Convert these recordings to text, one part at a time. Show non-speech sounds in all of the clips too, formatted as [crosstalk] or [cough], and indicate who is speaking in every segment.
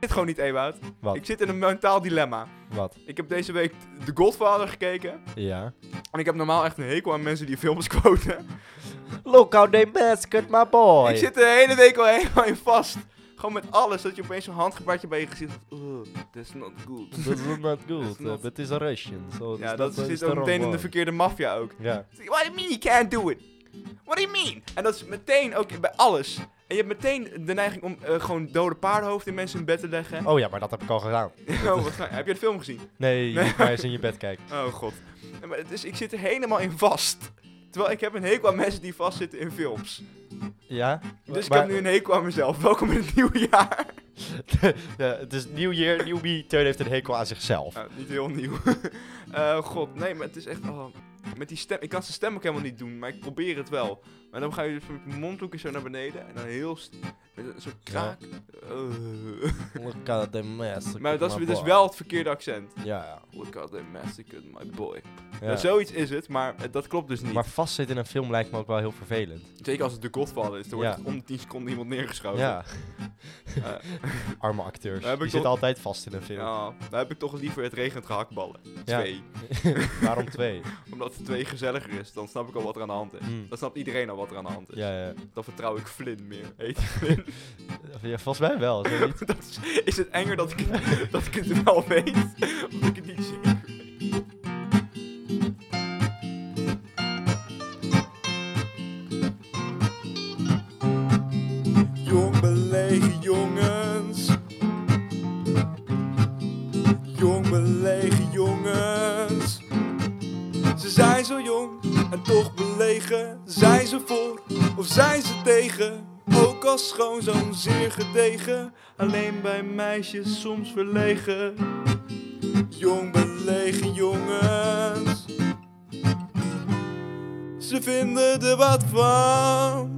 Speaker 1: dit gewoon niet, Ewout.
Speaker 2: Wat?
Speaker 1: Ik zit in een mentaal dilemma.
Speaker 2: Wat?
Speaker 1: Ik heb deze week The Godfather gekeken.
Speaker 2: Ja.
Speaker 1: En ik heb normaal echt een hekel aan mensen die films [laughs] quoten.
Speaker 2: Look how they massacred my boy.
Speaker 1: Ik zit de hele week al helemaal in vast. Gewoon met alles, dat je opeens zo'n handgebaartje bij je gezicht hebt. Ugh, that's not good.
Speaker 2: [laughs] Dat is not good,
Speaker 1: That's not-
Speaker 2: uh, but it's a Russian. Dus So
Speaker 1: Ja,
Speaker 2: it's
Speaker 1: dat
Speaker 2: not-
Speaker 1: zit
Speaker 2: it's
Speaker 1: ook
Speaker 2: the wrong
Speaker 1: meteen in de
Speaker 2: one.
Speaker 1: verkeerde maffia ook.
Speaker 2: Ja.
Speaker 1: What do you mean you can't do it? What do you mean? En dat is meteen ook bij alles. En je hebt meteen de neiging om eh, gewoon dode paardenhoofd in mensen in bed te
Speaker 2: [laughs]
Speaker 1: leggen.
Speaker 2: Oh ja, maar dat heb ik al gedaan.
Speaker 1: Oh, wat ga- heb je de film gezien?
Speaker 2: Nee, je
Speaker 1: Nee.
Speaker 2: moet maar eens in je bed kijken.
Speaker 1: Oh god. Ja, maar dus ik zit er helemaal in vast. Terwijl ik heb een hekel aan mensen die vastzitten in films.
Speaker 2: Ja?
Speaker 1: [laughs] Dus ik
Speaker 2: Maar-
Speaker 1: heb nu een hekel aan mezelf. Welkom in het nieuwe jaar. [laughs]
Speaker 2: ja, eh, het is nieuw year, nieuw me. Teun heeft een hekel aan zichzelf.
Speaker 1: Nou, niet heel nieuw. [laughs] Eh, god, nee, maar het is echt... oh, met die stem, ik kan zijn stem ook helemaal niet doen, maar ik probeer het wel. Maar dan ga je dus met je mondhoeken zo naar beneden. En dan heel... st- Met een soort kraak. Eh.
Speaker 2: Look how they massacred
Speaker 1: Maar dat is
Speaker 2: my
Speaker 1: dus
Speaker 2: boy.
Speaker 1: wel het verkeerde accent.
Speaker 2: Ja, ja.
Speaker 1: Look at that massacred, my boy.
Speaker 2: ja.
Speaker 1: Nou, zoiets is het, maar eh, dat klopt dus niet.
Speaker 2: Maar vastzitten in een film lijkt me ook wel heel vervelend.
Speaker 1: Zeker als het de Godfather is, dan wordt
Speaker 2: Ja.
Speaker 1: echt om de 10 seconden iemand neergeschoten.
Speaker 2: Ja,
Speaker 1: Eh,
Speaker 2: arme acteurs.
Speaker 1: Oh, Daar heb
Speaker 2: Die
Speaker 1: ik
Speaker 2: zitten
Speaker 1: toch-
Speaker 2: altijd vast in een film.
Speaker 1: ja, dan heb ik toch liever het regent gehaktballen. Twee.
Speaker 2: [laughs] Waarom twee?
Speaker 1: [laughs] Omdat het twee gezelliger is, dan snap ik al wat er aan de hand is.
Speaker 2: Hmm.
Speaker 1: Dan snapt iedereen al wat er aan de hand is.
Speaker 2: Ja, ja.
Speaker 1: Dan vertrouw ik Flynn meer.
Speaker 2: [laughs]
Speaker 1: Heet hij Flynn?
Speaker 2: ja. Volgens mij wel. is dat niet?
Speaker 1: [laughs] dat is, is het enger dat ik, het- dat ik het wel weet? Of ik het niet zeker weet? Jong belegen jongens. Jong belegen jongens. Ze zijn zo jong en toch belegen. Zijn ze voor of zijn ze tegen? Ook als schoonzoon zeer gedegen. Alleen bij meisjes soms verlegen. Jong belegen jongens. Ze vinden er wat van.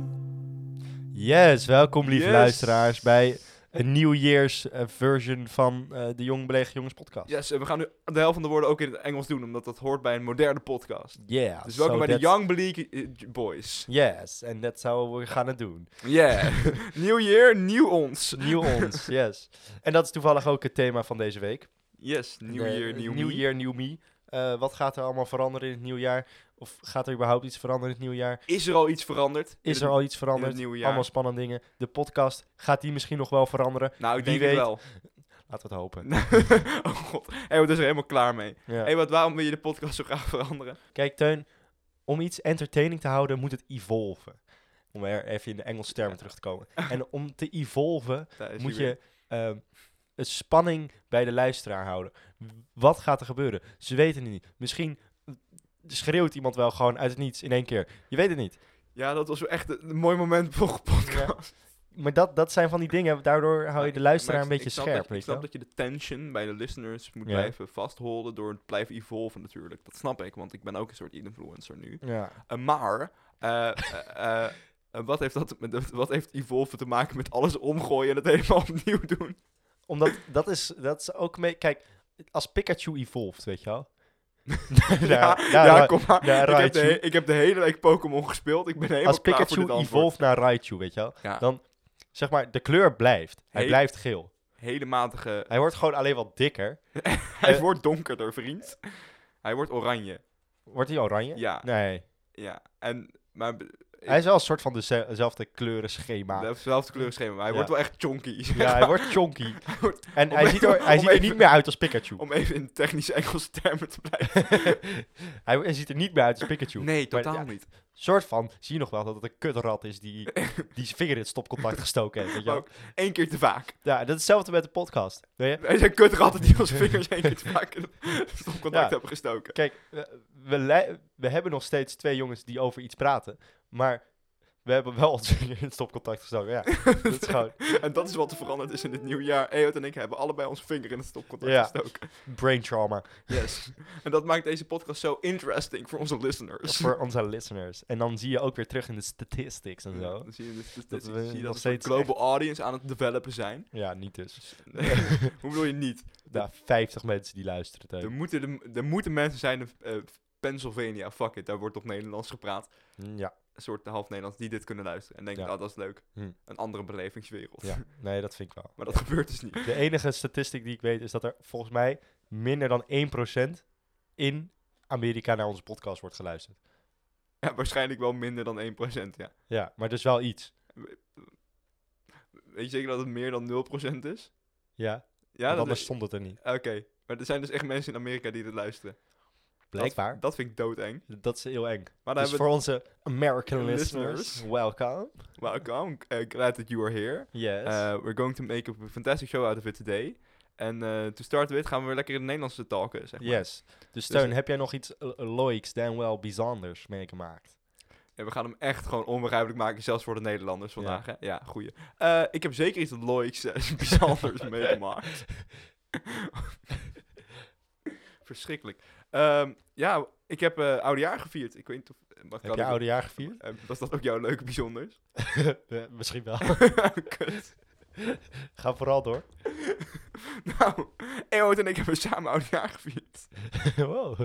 Speaker 2: Yes, welkom lieve
Speaker 1: Yes.
Speaker 2: luisteraars bij een New Year's eh, version van eh, de Jong Belegen Jongens podcast.
Speaker 1: Yes, en we gaan nu de helft van de woorden ook in het Engels doen, omdat dat hoort bij een moderne podcast.
Speaker 2: Yeah.
Speaker 1: Dus welkom
Speaker 2: so
Speaker 1: bij de
Speaker 2: that's-
Speaker 1: Young Bleak eh, Boys.
Speaker 2: Yes, en dat zouden we gaan het
Speaker 1: [laughs]
Speaker 2: doen.
Speaker 1: Yeah. New year, nieuw ons.
Speaker 2: Nieuw ons, yes. En dat is toevallig ook het thema van deze week.
Speaker 1: Yes, nieuw
Speaker 2: De-
Speaker 1: year, nieuw
Speaker 2: New
Speaker 1: me.
Speaker 2: Year, New Me. Eh, wat gaat er allemaal veranderen in het nieuwe jaar? Of gaat er überhaupt iets veranderen in het nieuwe jaar?
Speaker 1: Is er al iets veranderd? In
Speaker 2: Is
Speaker 1: het-
Speaker 2: er al iets veranderd?
Speaker 1: nieuwe jaar.
Speaker 2: Allemaal spannende dingen. De podcast, gaat die misschien nog wel veranderen?
Speaker 1: Nou, ik
Speaker 2: Wie
Speaker 1: denk het
Speaker 2: weet.
Speaker 1: wel.
Speaker 2: Laten we het hopen.
Speaker 1: [laughs] oh god, hey, we zijn er helemaal klaar mee.
Speaker 2: Ja.
Speaker 1: hey, wat, waarom wil je de podcast zo graag veranderen?
Speaker 2: Kijk, Teun, om iets entertaining te houden, moet het evolven. Om er even in de Engelse termen terug te komen. En om te
Speaker 1: [laughs]
Speaker 2: evolven,
Speaker 1: Daar is
Speaker 2: moet
Speaker 1: hij weer.
Speaker 2: je ehm, een spanning bij de luisteraar houden. W- Wat gaat er gebeuren? Ze weten het niet. Misschien eh, schreeuwt iemand wel gewoon uit het niets in één keer. Je weet het niet.
Speaker 1: Ja, dat was wel echt een, een mooi moment voor de podcast.
Speaker 2: Maar dat, dat zijn van die dingen, daardoor hou je de luisteraar een
Speaker 1: Maar ik-
Speaker 2: beetje
Speaker 1: ik snap dat-
Speaker 2: scherp.
Speaker 1: Ik
Speaker 2: Weet je
Speaker 1: snap
Speaker 2: wel?
Speaker 1: dat je de tension bij de listeners moet
Speaker 2: Ja.
Speaker 1: blijven vasthouden door te blijven evolven natuurlijk. Dat snap ik, want ik ben ook een soort influencer nu.
Speaker 2: Ja.
Speaker 1: Eh, maar, eh, eh, eh, eh, wat, heeft dat, met- wat heeft evolven te maken met alles omgooien en het helemaal [laughs] opnieuw
Speaker 2: [laughs]
Speaker 1: doen?
Speaker 2: Omdat dat is, dat is ook mee. Kijk, als Pikachu evolved, weet je wel. Daar-
Speaker 1: ja,
Speaker 2: daar-
Speaker 1: ja,
Speaker 2: daar-
Speaker 1: kom maar.
Speaker 2: ja,
Speaker 1: ik, heb de,
Speaker 2: Raichu.
Speaker 1: he- ik heb de hele week Pokémon gespeeld. Ik ben helemaal
Speaker 2: als
Speaker 1: klaar
Speaker 2: Pikachu
Speaker 1: voor dit antwoord.
Speaker 2: evolved naar Raichu, weet je wel.
Speaker 1: Ja.
Speaker 2: Dan, zeg maar, de kleur blijft. Hij
Speaker 1: Hey.
Speaker 2: blijft geel.
Speaker 1: Hele
Speaker 2: [laughs]
Speaker 1: matige.
Speaker 2: Hij wordt gewoon alleen wat dikker.
Speaker 1: Hij
Speaker 2: Eh.
Speaker 1: wordt donkerder, vriend. Hij wordt oranje.
Speaker 2: Wordt hij oranje?
Speaker 1: Ja,
Speaker 2: Nee.
Speaker 1: ja. En, maar b-
Speaker 2: Hij is wel een soort van deze- dezelfde kleurenschema.
Speaker 1: hij heeft hetzelfde kleurenschema. Maar hij
Speaker 2: Ja.
Speaker 1: wordt wel echt chonky. zeg [laughs]
Speaker 2: Ja, hij
Speaker 1: maar.
Speaker 2: wordt chonky.
Speaker 1: Hij wordt-
Speaker 2: En
Speaker 1: Om
Speaker 2: hij ziet, er,
Speaker 1: even-
Speaker 2: hij
Speaker 1: [laughs] om
Speaker 2: ziet er
Speaker 1: even-
Speaker 2: niet meer uit als Pikachu.
Speaker 1: om even in technische Engelse termen te blijven.
Speaker 2: [laughs] hij, hij ziet er niet meer uit als Pikachu.
Speaker 1: Nee,
Speaker 2: Maar
Speaker 1: totaal
Speaker 2: ja,
Speaker 1: niet.
Speaker 2: soort van, zie je nog wel dat het een kutrat
Speaker 1: [laughs]
Speaker 2: is die, die zijn vinger in het stopcontact gestoken heeft. Weet je
Speaker 1: Maar
Speaker 2: wel?
Speaker 1: ook één keer te vaak.
Speaker 2: Ja, dat is hetzelving met de podcast. Weet je?
Speaker 1: Wij zijn kutratten die
Speaker 2: [laughs]
Speaker 1: onze vingers één keer te vaak in het stopcontact
Speaker 2: Ja.
Speaker 1: hebben gestoken.
Speaker 2: Kijk, we, we, lij- we hebben nog steeds twee jongens die over iets praten, maar we hebben wel [laughs] ons vinger in het stopcontact gestoken.
Speaker 1: [laughs]
Speaker 2: Ja, dat is gewoon
Speaker 1: En dat is wat er veranderd is in dit nieuwe jaar. Eot en ik hebben allebei onze vinger in het stopcontact
Speaker 2: Ja.
Speaker 1: gestoken.
Speaker 2: brain
Speaker 1: [laughs]
Speaker 2: trauma
Speaker 1: Yes. En dat maakt deze podcast zo interesting voor onze listeners.
Speaker 2: voor onze listeners. En dan zie je ook weer terug in de statistics en
Speaker 1: Ja,
Speaker 2: zo.
Speaker 1: dan zie je, dus, dus,
Speaker 2: Dat
Speaker 1: dus-
Speaker 2: we
Speaker 1: zie je
Speaker 2: nog
Speaker 1: dat we een
Speaker 2: steeds
Speaker 1: global audience aan het developen
Speaker 2: [laughs]
Speaker 1: zijn.
Speaker 2: Ja, niet dus.
Speaker 1: Nee, hoe bedoel je niet?
Speaker 2: Ja, 50 mensen die luisteren.
Speaker 1: Er
Speaker 2: Teun.
Speaker 1: moeten, de- er moeten mensen zijn in eh, Pennsylvania, fuck it, daar wordt op Nederlands gepraat.
Speaker 2: Ja,
Speaker 1: soort half Nederlands die dit kunnen luisteren. En denken,
Speaker 2: Ja.
Speaker 1: ah, dat is leuk.
Speaker 2: Hm.
Speaker 1: Een andere belevingswereld.
Speaker 2: Ja, nee, dat vind ik wel.
Speaker 1: maar dat [laughs] gebeurt dus niet.
Speaker 2: De enige statistiek die ik weet is dat er volgens mij minder dan 1% in Amerika naar onze podcast wordt geluisterd.
Speaker 1: Ja, waarschijnlijk wel minder dan 1%, ja.
Speaker 2: Ja, maar dus wel iets.
Speaker 1: Weet je zeker dat het meer dan 0% is?
Speaker 2: Ja,
Speaker 1: Ja,
Speaker 2: want
Speaker 1: dat is...
Speaker 2: anders
Speaker 1: ah,
Speaker 2: stond het er niet.
Speaker 1: Oké, maar er zijn dus echt mensen in Amerika die dit luisteren.
Speaker 2: Blijkbaar.
Speaker 1: Dat, dat vind ik doodeng.
Speaker 2: Dat, is heel eng.
Speaker 1: Maar dan
Speaker 2: Dus
Speaker 1: hebben
Speaker 2: voor onze American
Speaker 1: Listeners.
Speaker 2: listeners, welcome.
Speaker 1: we... Welcome, eh, glad that you are here.
Speaker 2: Yes.
Speaker 1: Uh, we're going to make a fantastic show out of it today. En eh, to start with gaan we weer lekker in het Nederlands talken, zeg maar.
Speaker 2: yes. Dus Steun, heb jij nog iets eh, leuks, dan wel bijzonders meegemaakt?
Speaker 1: Ja, we gaan hem echt gewoon onbegrijpelijk maken, zelfs voor de Nederlanders vandaag. Ja, hè? ja goeie. Eh, ik heb zeker iets looiks en [laughs]
Speaker 2: [laughs]
Speaker 1: bijzonders meegemaakt. Verschrikkelijk. Ehm, ja, ik heb eh oudejaar gevierd. Ik weet niet of... maar kan
Speaker 2: Heb
Speaker 1: ik-
Speaker 2: je oudejaar
Speaker 1: [laughs]
Speaker 2: gevierd?
Speaker 1: Eh, was dat ook jouw leuke
Speaker 2: [laughs]
Speaker 1: bijzonders?
Speaker 2: Eh, Misschien wel.
Speaker 1: Kut.
Speaker 2: [laughs] Ga vooral door.
Speaker 1: [laughs] Nou, Ewout en ik hebben samen oudejaar gevierd.
Speaker 2: wow.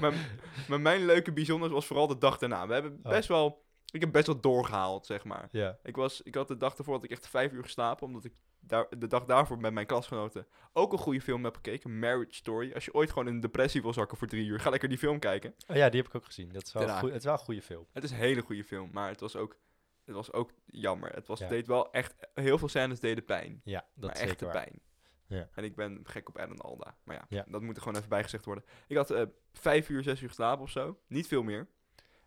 Speaker 1: maar,
Speaker 2: [laughs]
Speaker 1: maar mijn leuke bijzonders was vooral de dag daarna. We hebben
Speaker 2: Oh.
Speaker 1: best wel... Ik heb best wel doorgehaald, zeg maar.
Speaker 2: Ja.
Speaker 1: Ik, was, ik had de dag ervoor had ik echt vijf uur geslapen. Omdat ik daar, de dag daarvoor met mijn klasgenoten ook een goede film heb gekeken. Marriage Story. Als je ooit gewoon in een depressie wil zakken voor drie uur, ga lekker die film kijken.
Speaker 2: Oh ja, die heb ik ook gezien. Dat is wel,
Speaker 1: Daarna.
Speaker 2: een goe- het is wel een goede film.
Speaker 1: Het is een hele goede film, maar het was ook, het was ook jammer. Het was,
Speaker 2: Ja.
Speaker 1: deed wel echt... Heel veel scènes deden pijn.
Speaker 2: Ja, dat is
Speaker 1: maar echt
Speaker 2: zeker
Speaker 1: de
Speaker 2: waar.
Speaker 1: pijn.
Speaker 2: Ja.
Speaker 1: En ik ben gek op Adam Alda. Maar ja,
Speaker 2: Ja.
Speaker 1: dat moet er gewoon even bijgezegd worden. Ik had eh, vijf uur, zes uur geslapen of zo. Niet veel meer.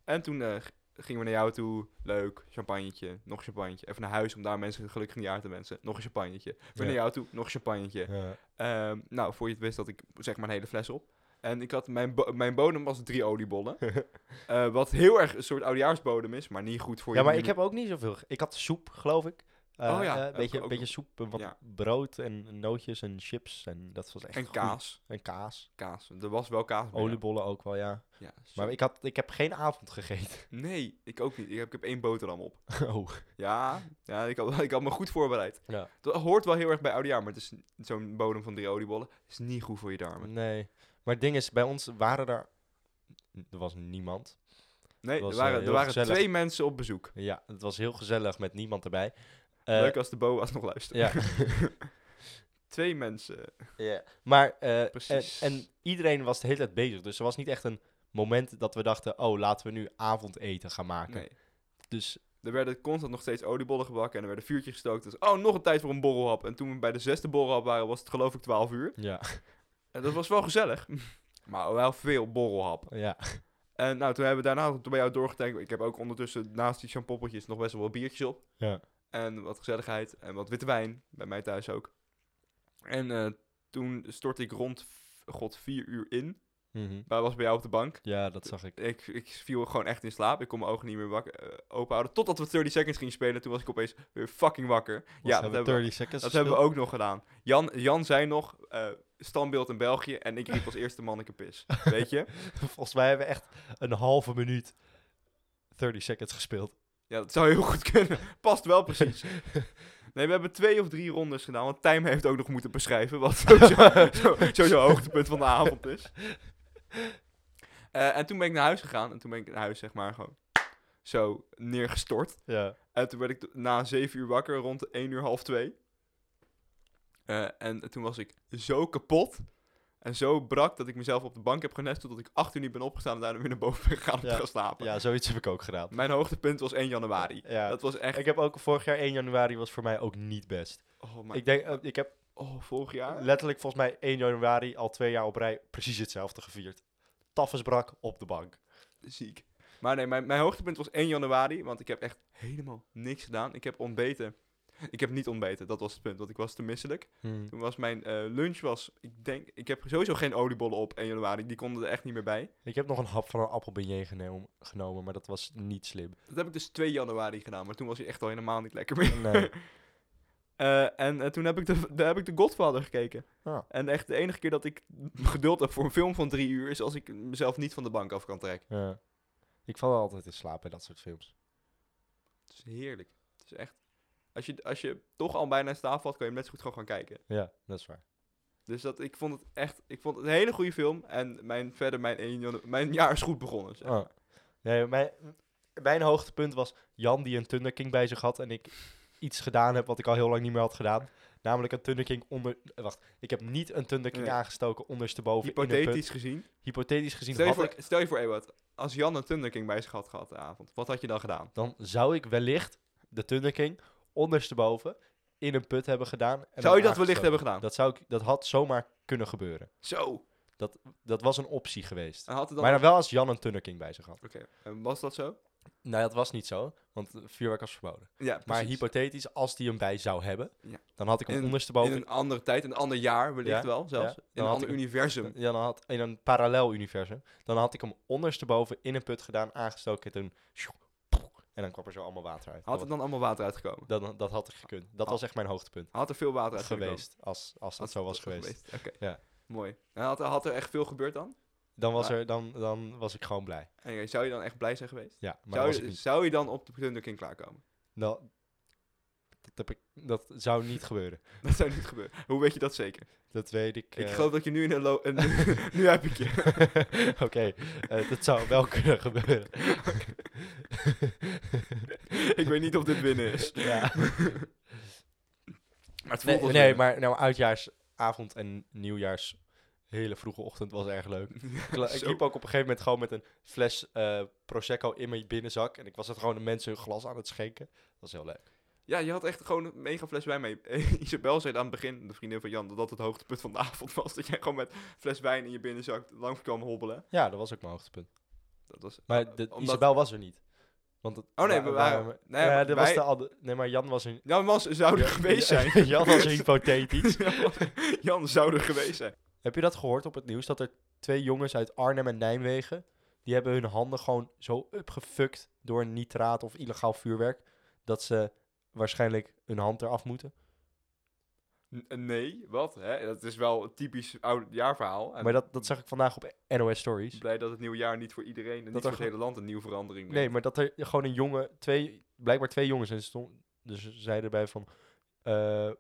Speaker 1: En toen eh, g- gingen we naar jou toe. Leuk, champagnetje, nog champagnetje. Even naar huis om daar mensen een gelukkig nieuwjaar te wensen. Nog een champagnetje. Weer
Speaker 2: Ja.
Speaker 1: naar jou toe, nog een champagnetje.
Speaker 2: Ja.
Speaker 1: Ehm, nou, voor je het wist had ik zeg maar een hele fles op. En ik had, mijn, bo- mijn bodem was drie
Speaker 2: [laughs]
Speaker 1: oliebollen. Eh, wat heel erg een soort oudejaarsbodem is, maar niet goed voor
Speaker 2: Ja,
Speaker 1: je.
Speaker 2: maar ik
Speaker 1: nier-
Speaker 2: heb ook niet zoveel. ge- Ik had soep, geloof ik. Eh,
Speaker 1: Oh ja,
Speaker 2: eh,
Speaker 1: heb
Speaker 2: beetje,
Speaker 1: ik ook
Speaker 2: beetje
Speaker 1: nog.
Speaker 2: soep en wat
Speaker 1: Ja.
Speaker 2: brood en nootjes en chips. En dat was echt
Speaker 1: En
Speaker 2: goed.
Speaker 1: kaas.
Speaker 2: En kaas.
Speaker 1: Kaas. Er was wel kaas. bij, ja.
Speaker 2: Oliebollen ook wel, ja.
Speaker 1: Ja, zo-
Speaker 2: Maar ik, had, ik heb geen avond gegeten.
Speaker 1: Nee, ik ook niet. Ik heb, ik heb één boterham op.
Speaker 2: [laughs] oh.
Speaker 1: Ja, ja ik, had, [laughs] ik had me goed voorbereid.
Speaker 2: Ja.
Speaker 1: Dat hoort wel heel erg bij oudejaar, maar het is n- zo'n bodem van drie oliebollen. is niet goed voor je darmen.
Speaker 2: Nee. Maar het ding is, bij ons waren er... Er was niemand.
Speaker 1: Nee,
Speaker 2: was,
Speaker 1: er
Speaker 2: eh,
Speaker 1: waren, er
Speaker 2: heel
Speaker 1: waren
Speaker 2: gezellig.
Speaker 1: twee mensen op bezoek.
Speaker 2: Ja, het was heel gezellig met niemand erbij. Eh,
Speaker 1: Leuk als de boa's nog luisteren.
Speaker 2: Ja.
Speaker 1: [laughs] Twee mensen.
Speaker 2: Ja, maar eh,
Speaker 1: Precies.
Speaker 2: En, en iedereen was de hele tijd bezig. Dus er was niet echt een moment dat we dachten: oh, laten we nu avondeten gaan maken.
Speaker 1: Nee.
Speaker 2: Dus
Speaker 1: Er werden constant nog steeds oliebollen gebakken en er werden vuurtjes gestookt. Dus, oh, nog een tijd voor een borrelhap. En toen we bij de zesde borrelhap waren, was het geloof ik 12 uur.
Speaker 2: ja,
Speaker 1: En dat was wel gezellig. [laughs] Maar wel veel borrelhap.
Speaker 2: [laughs] ja.
Speaker 1: En nou, toen hebben we daarna toen bij jou doorgetankt. Ik heb ook ondertussen naast die champoppeltjes nog best wel wat biertjes op.
Speaker 2: Ja.
Speaker 1: En wat gezelligheid en wat witte wijn. Bij mij thuis ook. En eh, toen stortte ik rond, f- god, vier uur in.
Speaker 2: Mhm.
Speaker 1: Maar was bij jou op de bank.
Speaker 2: ja, dat zag ik.
Speaker 1: Ik, ik viel gewoon echt in slaap. Ik kon mijn ogen niet meer wakker, eh, open houden. Totdat we 30 Seconds gingen spelen. Toen was ik opeens weer fucking wakker. ja, dat, hebben, we-
Speaker 2: 30 seconds.
Speaker 1: dat hebben we ook nog gedaan. Jan, Jan zei nog, eh, standbeeld in België. En ik riep als eerste manneke
Speaker 2: [laughs]
Speaker 1: pis. Weet je?
Speaker 2: Volgens mij hebben we echt een halve minuut 30 seconds gespeeld.
Speaker 1: Ja, dat zou heel goed kunnen. [laughs] Past wel precies. Nee, we hebben twee of drie rondes gedaan, want Tijm heeft ook nog moeten beschrijven wat sowieso zo- sowieso hoogtepunt van de avond is. Eh, en toen ben ik naar huis gegaan en toen ben ik naar huis zeg maar gewoon zo neergestort.
Speaker 2: Ja.
Speaker 1: En toen werd ik t- na zeven uur wakker, rond 1 uur half twee. Eh, en toen was ik zo kapot en zo brak dat ik mezelf op de bank heb genest totdat ik acht uur niet ben opgestaan en daarna weer naar boven ben gegaan om te
Speaker 2: Ja.
Speaker 1: gaan slapen.
Speaker 2: ja, zoiets heb ik ook gedaan.
Speaker 1: Mijn hoogtepunt was 1 januari.
Speaker 2: Ja.
Speaker 1: Dat was echt
Speaker 2: Ik heb ook vorig jaar 1 januari was voor mij ook niet best.
Speaker 1: Oh, maar
Speaker 2: Ik denk, eh, ik heb
Speaker 1: oh, vorig jaar?
Speaker 2: letterlijk volgens mij 1 januari al twee jaar op rij precies hetzelfde gevierd. Taffes brak op de bank.
Speaker 1: Ziek. Maar nee, mijn, mijn hoogtepunt was 1 januari, want ik heb echt helemaal niks gedaan. Ik heb ontbeten. Ik heb niet ontbeten, dat was het punt, want ik was te misselijk. Toen was mijn eh, lunch, was, ik denk, ik heb sowieso geen oliebollen op 1 januari, die konden er echt niet meer bij.
Speaker 2: Ik heb nog een hap van een appelbeignet genomen, genomen, maar dat was niet
Speaker 1: [laughs]
Speaker 2: slim.
Speaker 1: Dat heb ik dus 2 januari gedaan, maar toen was hij echt al helemaal niet lekker meer.
Speaker 2: Nee.
Speaker 1: [laughs] Eh, en eh, toen heb ik, de, daar heb ik de Godfather gekeken.
Speaker 2: Ah.
Speaker 1: En echt de enige keer dat ik geduld heb voor een film van drie uur, is als ik mezelf niet van de bank af kan trekken.
Speaker 2: Ja. ik val altijd in slaap bij dat soort films.
Speaker 1: Het is heerlijk. Het is echt... Als je, als je toch al bijna in staaf valt, kan je hem net zo goed gewoon gaan kijken.
Speaker 2: Ja, dat is waar.
Speaker 1: Dus dat, ik vond het echt... Ik vond het een hele goede film. En mijn, verder mijn, 1 janu- mijn jaar is goed begonnen. zeg.
Speaker 2: Oh. Ah. Nee, mijn, mijn hoogtepunt was Jan die een Thunder King bij zich had en ik iets gedaan heb wat ik al heel lang niet meer had gedaan. Namelijk een Thunder King onder... eh, Wacht, ik heb niet een Thunder King
Speaker 1: Nee.
Speaker 2: aangestoken ondersteboven in een put.
Speaker 1: Hypothetisch gezien.
Speaker 2: Hypothetisch gezien
Speaker 1: Stel je,
Speaker 2: had
Speaker 1: voor,
Speaker 2: ik...
Speaker 1: stel je voor, Ewout, als Jan een Thunder King bij zich had gehad de avond, wat had je dan gedaan?
Speaker 2: Dan zou ik wellicht de Thunder King ondersteboven in een put hebben gedaan. en
Speaker 1: zou je
Speaker 2: hem
Speaker 1: dat wellicht
Speaker 2: aangestoken.
Speaker 1: hebben gedaan?
Speaker 2: Dat, zou ik, dat had zomaar kunnen gebeuren.
Speaker 1: Zo!
Speaker 2: Dat was een optie geweest.
Speaker 1: En had het dan...
Speaker 2: Maar dan wel als Jan een Thunder King bij zich had.
Speaker 1: Oké, en was dat zo?
Speaker 2: Nou, dat was niet zo, want eh, vuurwerk was verboden.
Speaker 1: Ja,
Speaker 2: Maar
Speaker 1: precies.
Speaker 2: hypothetisch, als die hem bij zou hebben,
Speaker 1: Ja.
Speaker 2: dan had ik hem
Speaker 1: In-
Speaker 2: ondersteboven.
Speaker 1: In een andere tijd, een ander jaar wellicht
Speaker 2: Ja,
Speaker 1: wel zelfs.
Speaker 2: ja.
Speaker 1: In een
Speaker 2: Dan had
Speaker 1: ander
Speaker 2: ik-
Speaker 1: universum.
Speaker 2: ja, dan had, in een parallel universum. Dan had ik hem ondersteboven in een put gedaan, aangestoken. Toen, sjoe, poeh, en dan kwam er zo allemaal water uit.
Speaker 1: Had
Speaker 2: dat,
Speaker 1: er dan allemaal water uitgekomen?
Speaker 2: dat, dat had ik gekund. Dat
Speaker 1: Ah.
Speaker 2: was echt mijn hoogtepunt
Speaker 1: Had er veel water uitgekomen?
Speaker 2: geweest. Als, als dat zo was geweest.
Speaker 1: Oké,
Speaker 2: Ja.
Speaker 1: mooi. En had, er- had er echt veel gebeurd dan?
Speaker 2: Dan, was
Speaker 1: Maar-
Speaker 2: er, dan, dan was ik gewoon blij.
Speaker 1: En zou je dan echt blij zijn geweest?
Speaker 2: Ja, maar dat
Speaker 1: Zou
Speaker 2: was ik
Speaker 1: je, dus-
Speaker 2: niet.
Speaker 1: zou je dan op de Thunder King klaarkomen? [laughs]
Speaker 2: Nou, dat, heb ik, dat zou niet gebeuren.
Speaker 1: Dat zou niet gebeuren. Hoe weet je dat zeker?
Speaker 2: Dat weet ik.
Speaker 1: Ik
Speaker 2: eh,
Speaker 1: geloof dat je nu in een... lo- een
Speaker 2: [laughs]
Speaker 1: nu heb ik je.
Speaker 2: Oké, eh, dat zou wel kunnen gebeuren.
Speaker 1: [laughs] ik weet niet of dit binnen is. [laughs]
Speaker 2: Ja.
Speaker 1: Maar het
Speaker 2: Nee,
Speaker 1: voelt als
Speaker 2: nee,
Speaker 1: binnen.
Speaker 2: maar nou, uitjaarsavond en nieuwjaars hele vroege ochtend was erg
Speaker 1: [laughs]
Speaker 2: leuk. Ik, la- ik
Speaker 1: Zo.
Speaker 2: liep ook op een gegeven moment gewoon met een fles eh, Prosecco in mijn binnenzak. En ik was het gewoon de mensen hun glas aan het schenken. Dat was heel leuk.
Speaker 1: Ja, je had echt gewoon een mega fles wijn mee. [laughs] Eh, Isabel zei aan het begin, de vriendin van Jan, dat dat het hoogtepunt van de [laughs] avond was. Dat jij gewoon met fles wijn in je binnenzak lang kwam hobbelen.
Speaker 2: Ja, dat was ook mijn hoogtepunt.
Speaker 1: Dat was,
Speaker 2: Maar de,
Speaker 1: Ah, omdat-
Speaker 2: Isabel was er niet. Want het,
Speaker 1: Oh, nee, we waren- nee,
Speaker 2: Nee,
Speaker 1: maar
Speaker 2: dat was
Speaker 1: wij-
Speaker 2: de ander- nee, maar Jan was er...
Speaker 1: Jan was, zou er geweest zijn.
Speaker 2: [laughs] Jan
Speaker 1: [laughs]
Speaker 2: was er hypothetisch.
Speaker 1: Jan was- Jan zou er geweest zijn.
Speaker 2: Heb je dat gehoord op het nieuws? Dat er twee jongens uit Arnhem en Nijmegen. die hebben hun handen gewoon zo upgefuckt. door nitraat of illegaal vuurwerk. dat ze waarschijnlijk hun hand eraf moeten.
Speaker 1: N- nee, wat? Hè? Dat is wel een typisch oudjaarverhaal. En
Speaker 2: Maar dat, dat zag ik vandaag op NOS Stories.
Speaker 1: Blij dat het nieuwe jaar niet voor iedereen en
Speaker 2: er
Speaker 1: niet voor het
Speaker 2: gewoon-
Speaker 1: hele land een nieuwe verandering brengt.
Speaker 2: Nee, maar dat er gewoon een jongen. Twee, blijkbaar twee jongens. En ze stond, dus ze zeiden erbij van. eh,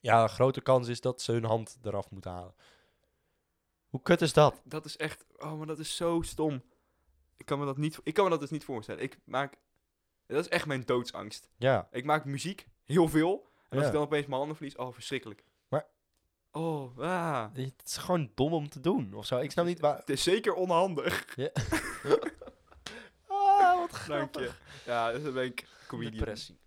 Speaker 2: ja, een grote kans is dat ze hun hand eraf moeten halen. Hoe kut is dat?
Speaker 1: Dat is echt. Oh, maar dat is zo stom. Ik kan me dat, niet, ik kan me dat dus niet voorstellen. Ik maak. Dat is echt mijn doodsangst.
Speaker 2: Ja.
Speaker 1: Ik maak muziek, heel veel. En als
Speaker 2: Ja.
Speaker 1: ik dan opeens mijn handen verlies, oh, verschrikkelijk.
Speaker 2: Maar-
Speaker 1: Oh, ah.
Speaker 2: Het is gewoon dom om te doen of zo. Ik snap
Speaker 1: [laughs]
Speaker 2: niet waar.
Speaker 1: Het is zeker onhandig.
Speaker 2: Ah, wat
Speaker 1: [laughs] Dank je.
Speaker 2: [laughs]
Speaker 1: Ja, dus dan ben ik comedian.
Speaker 2: Depressie.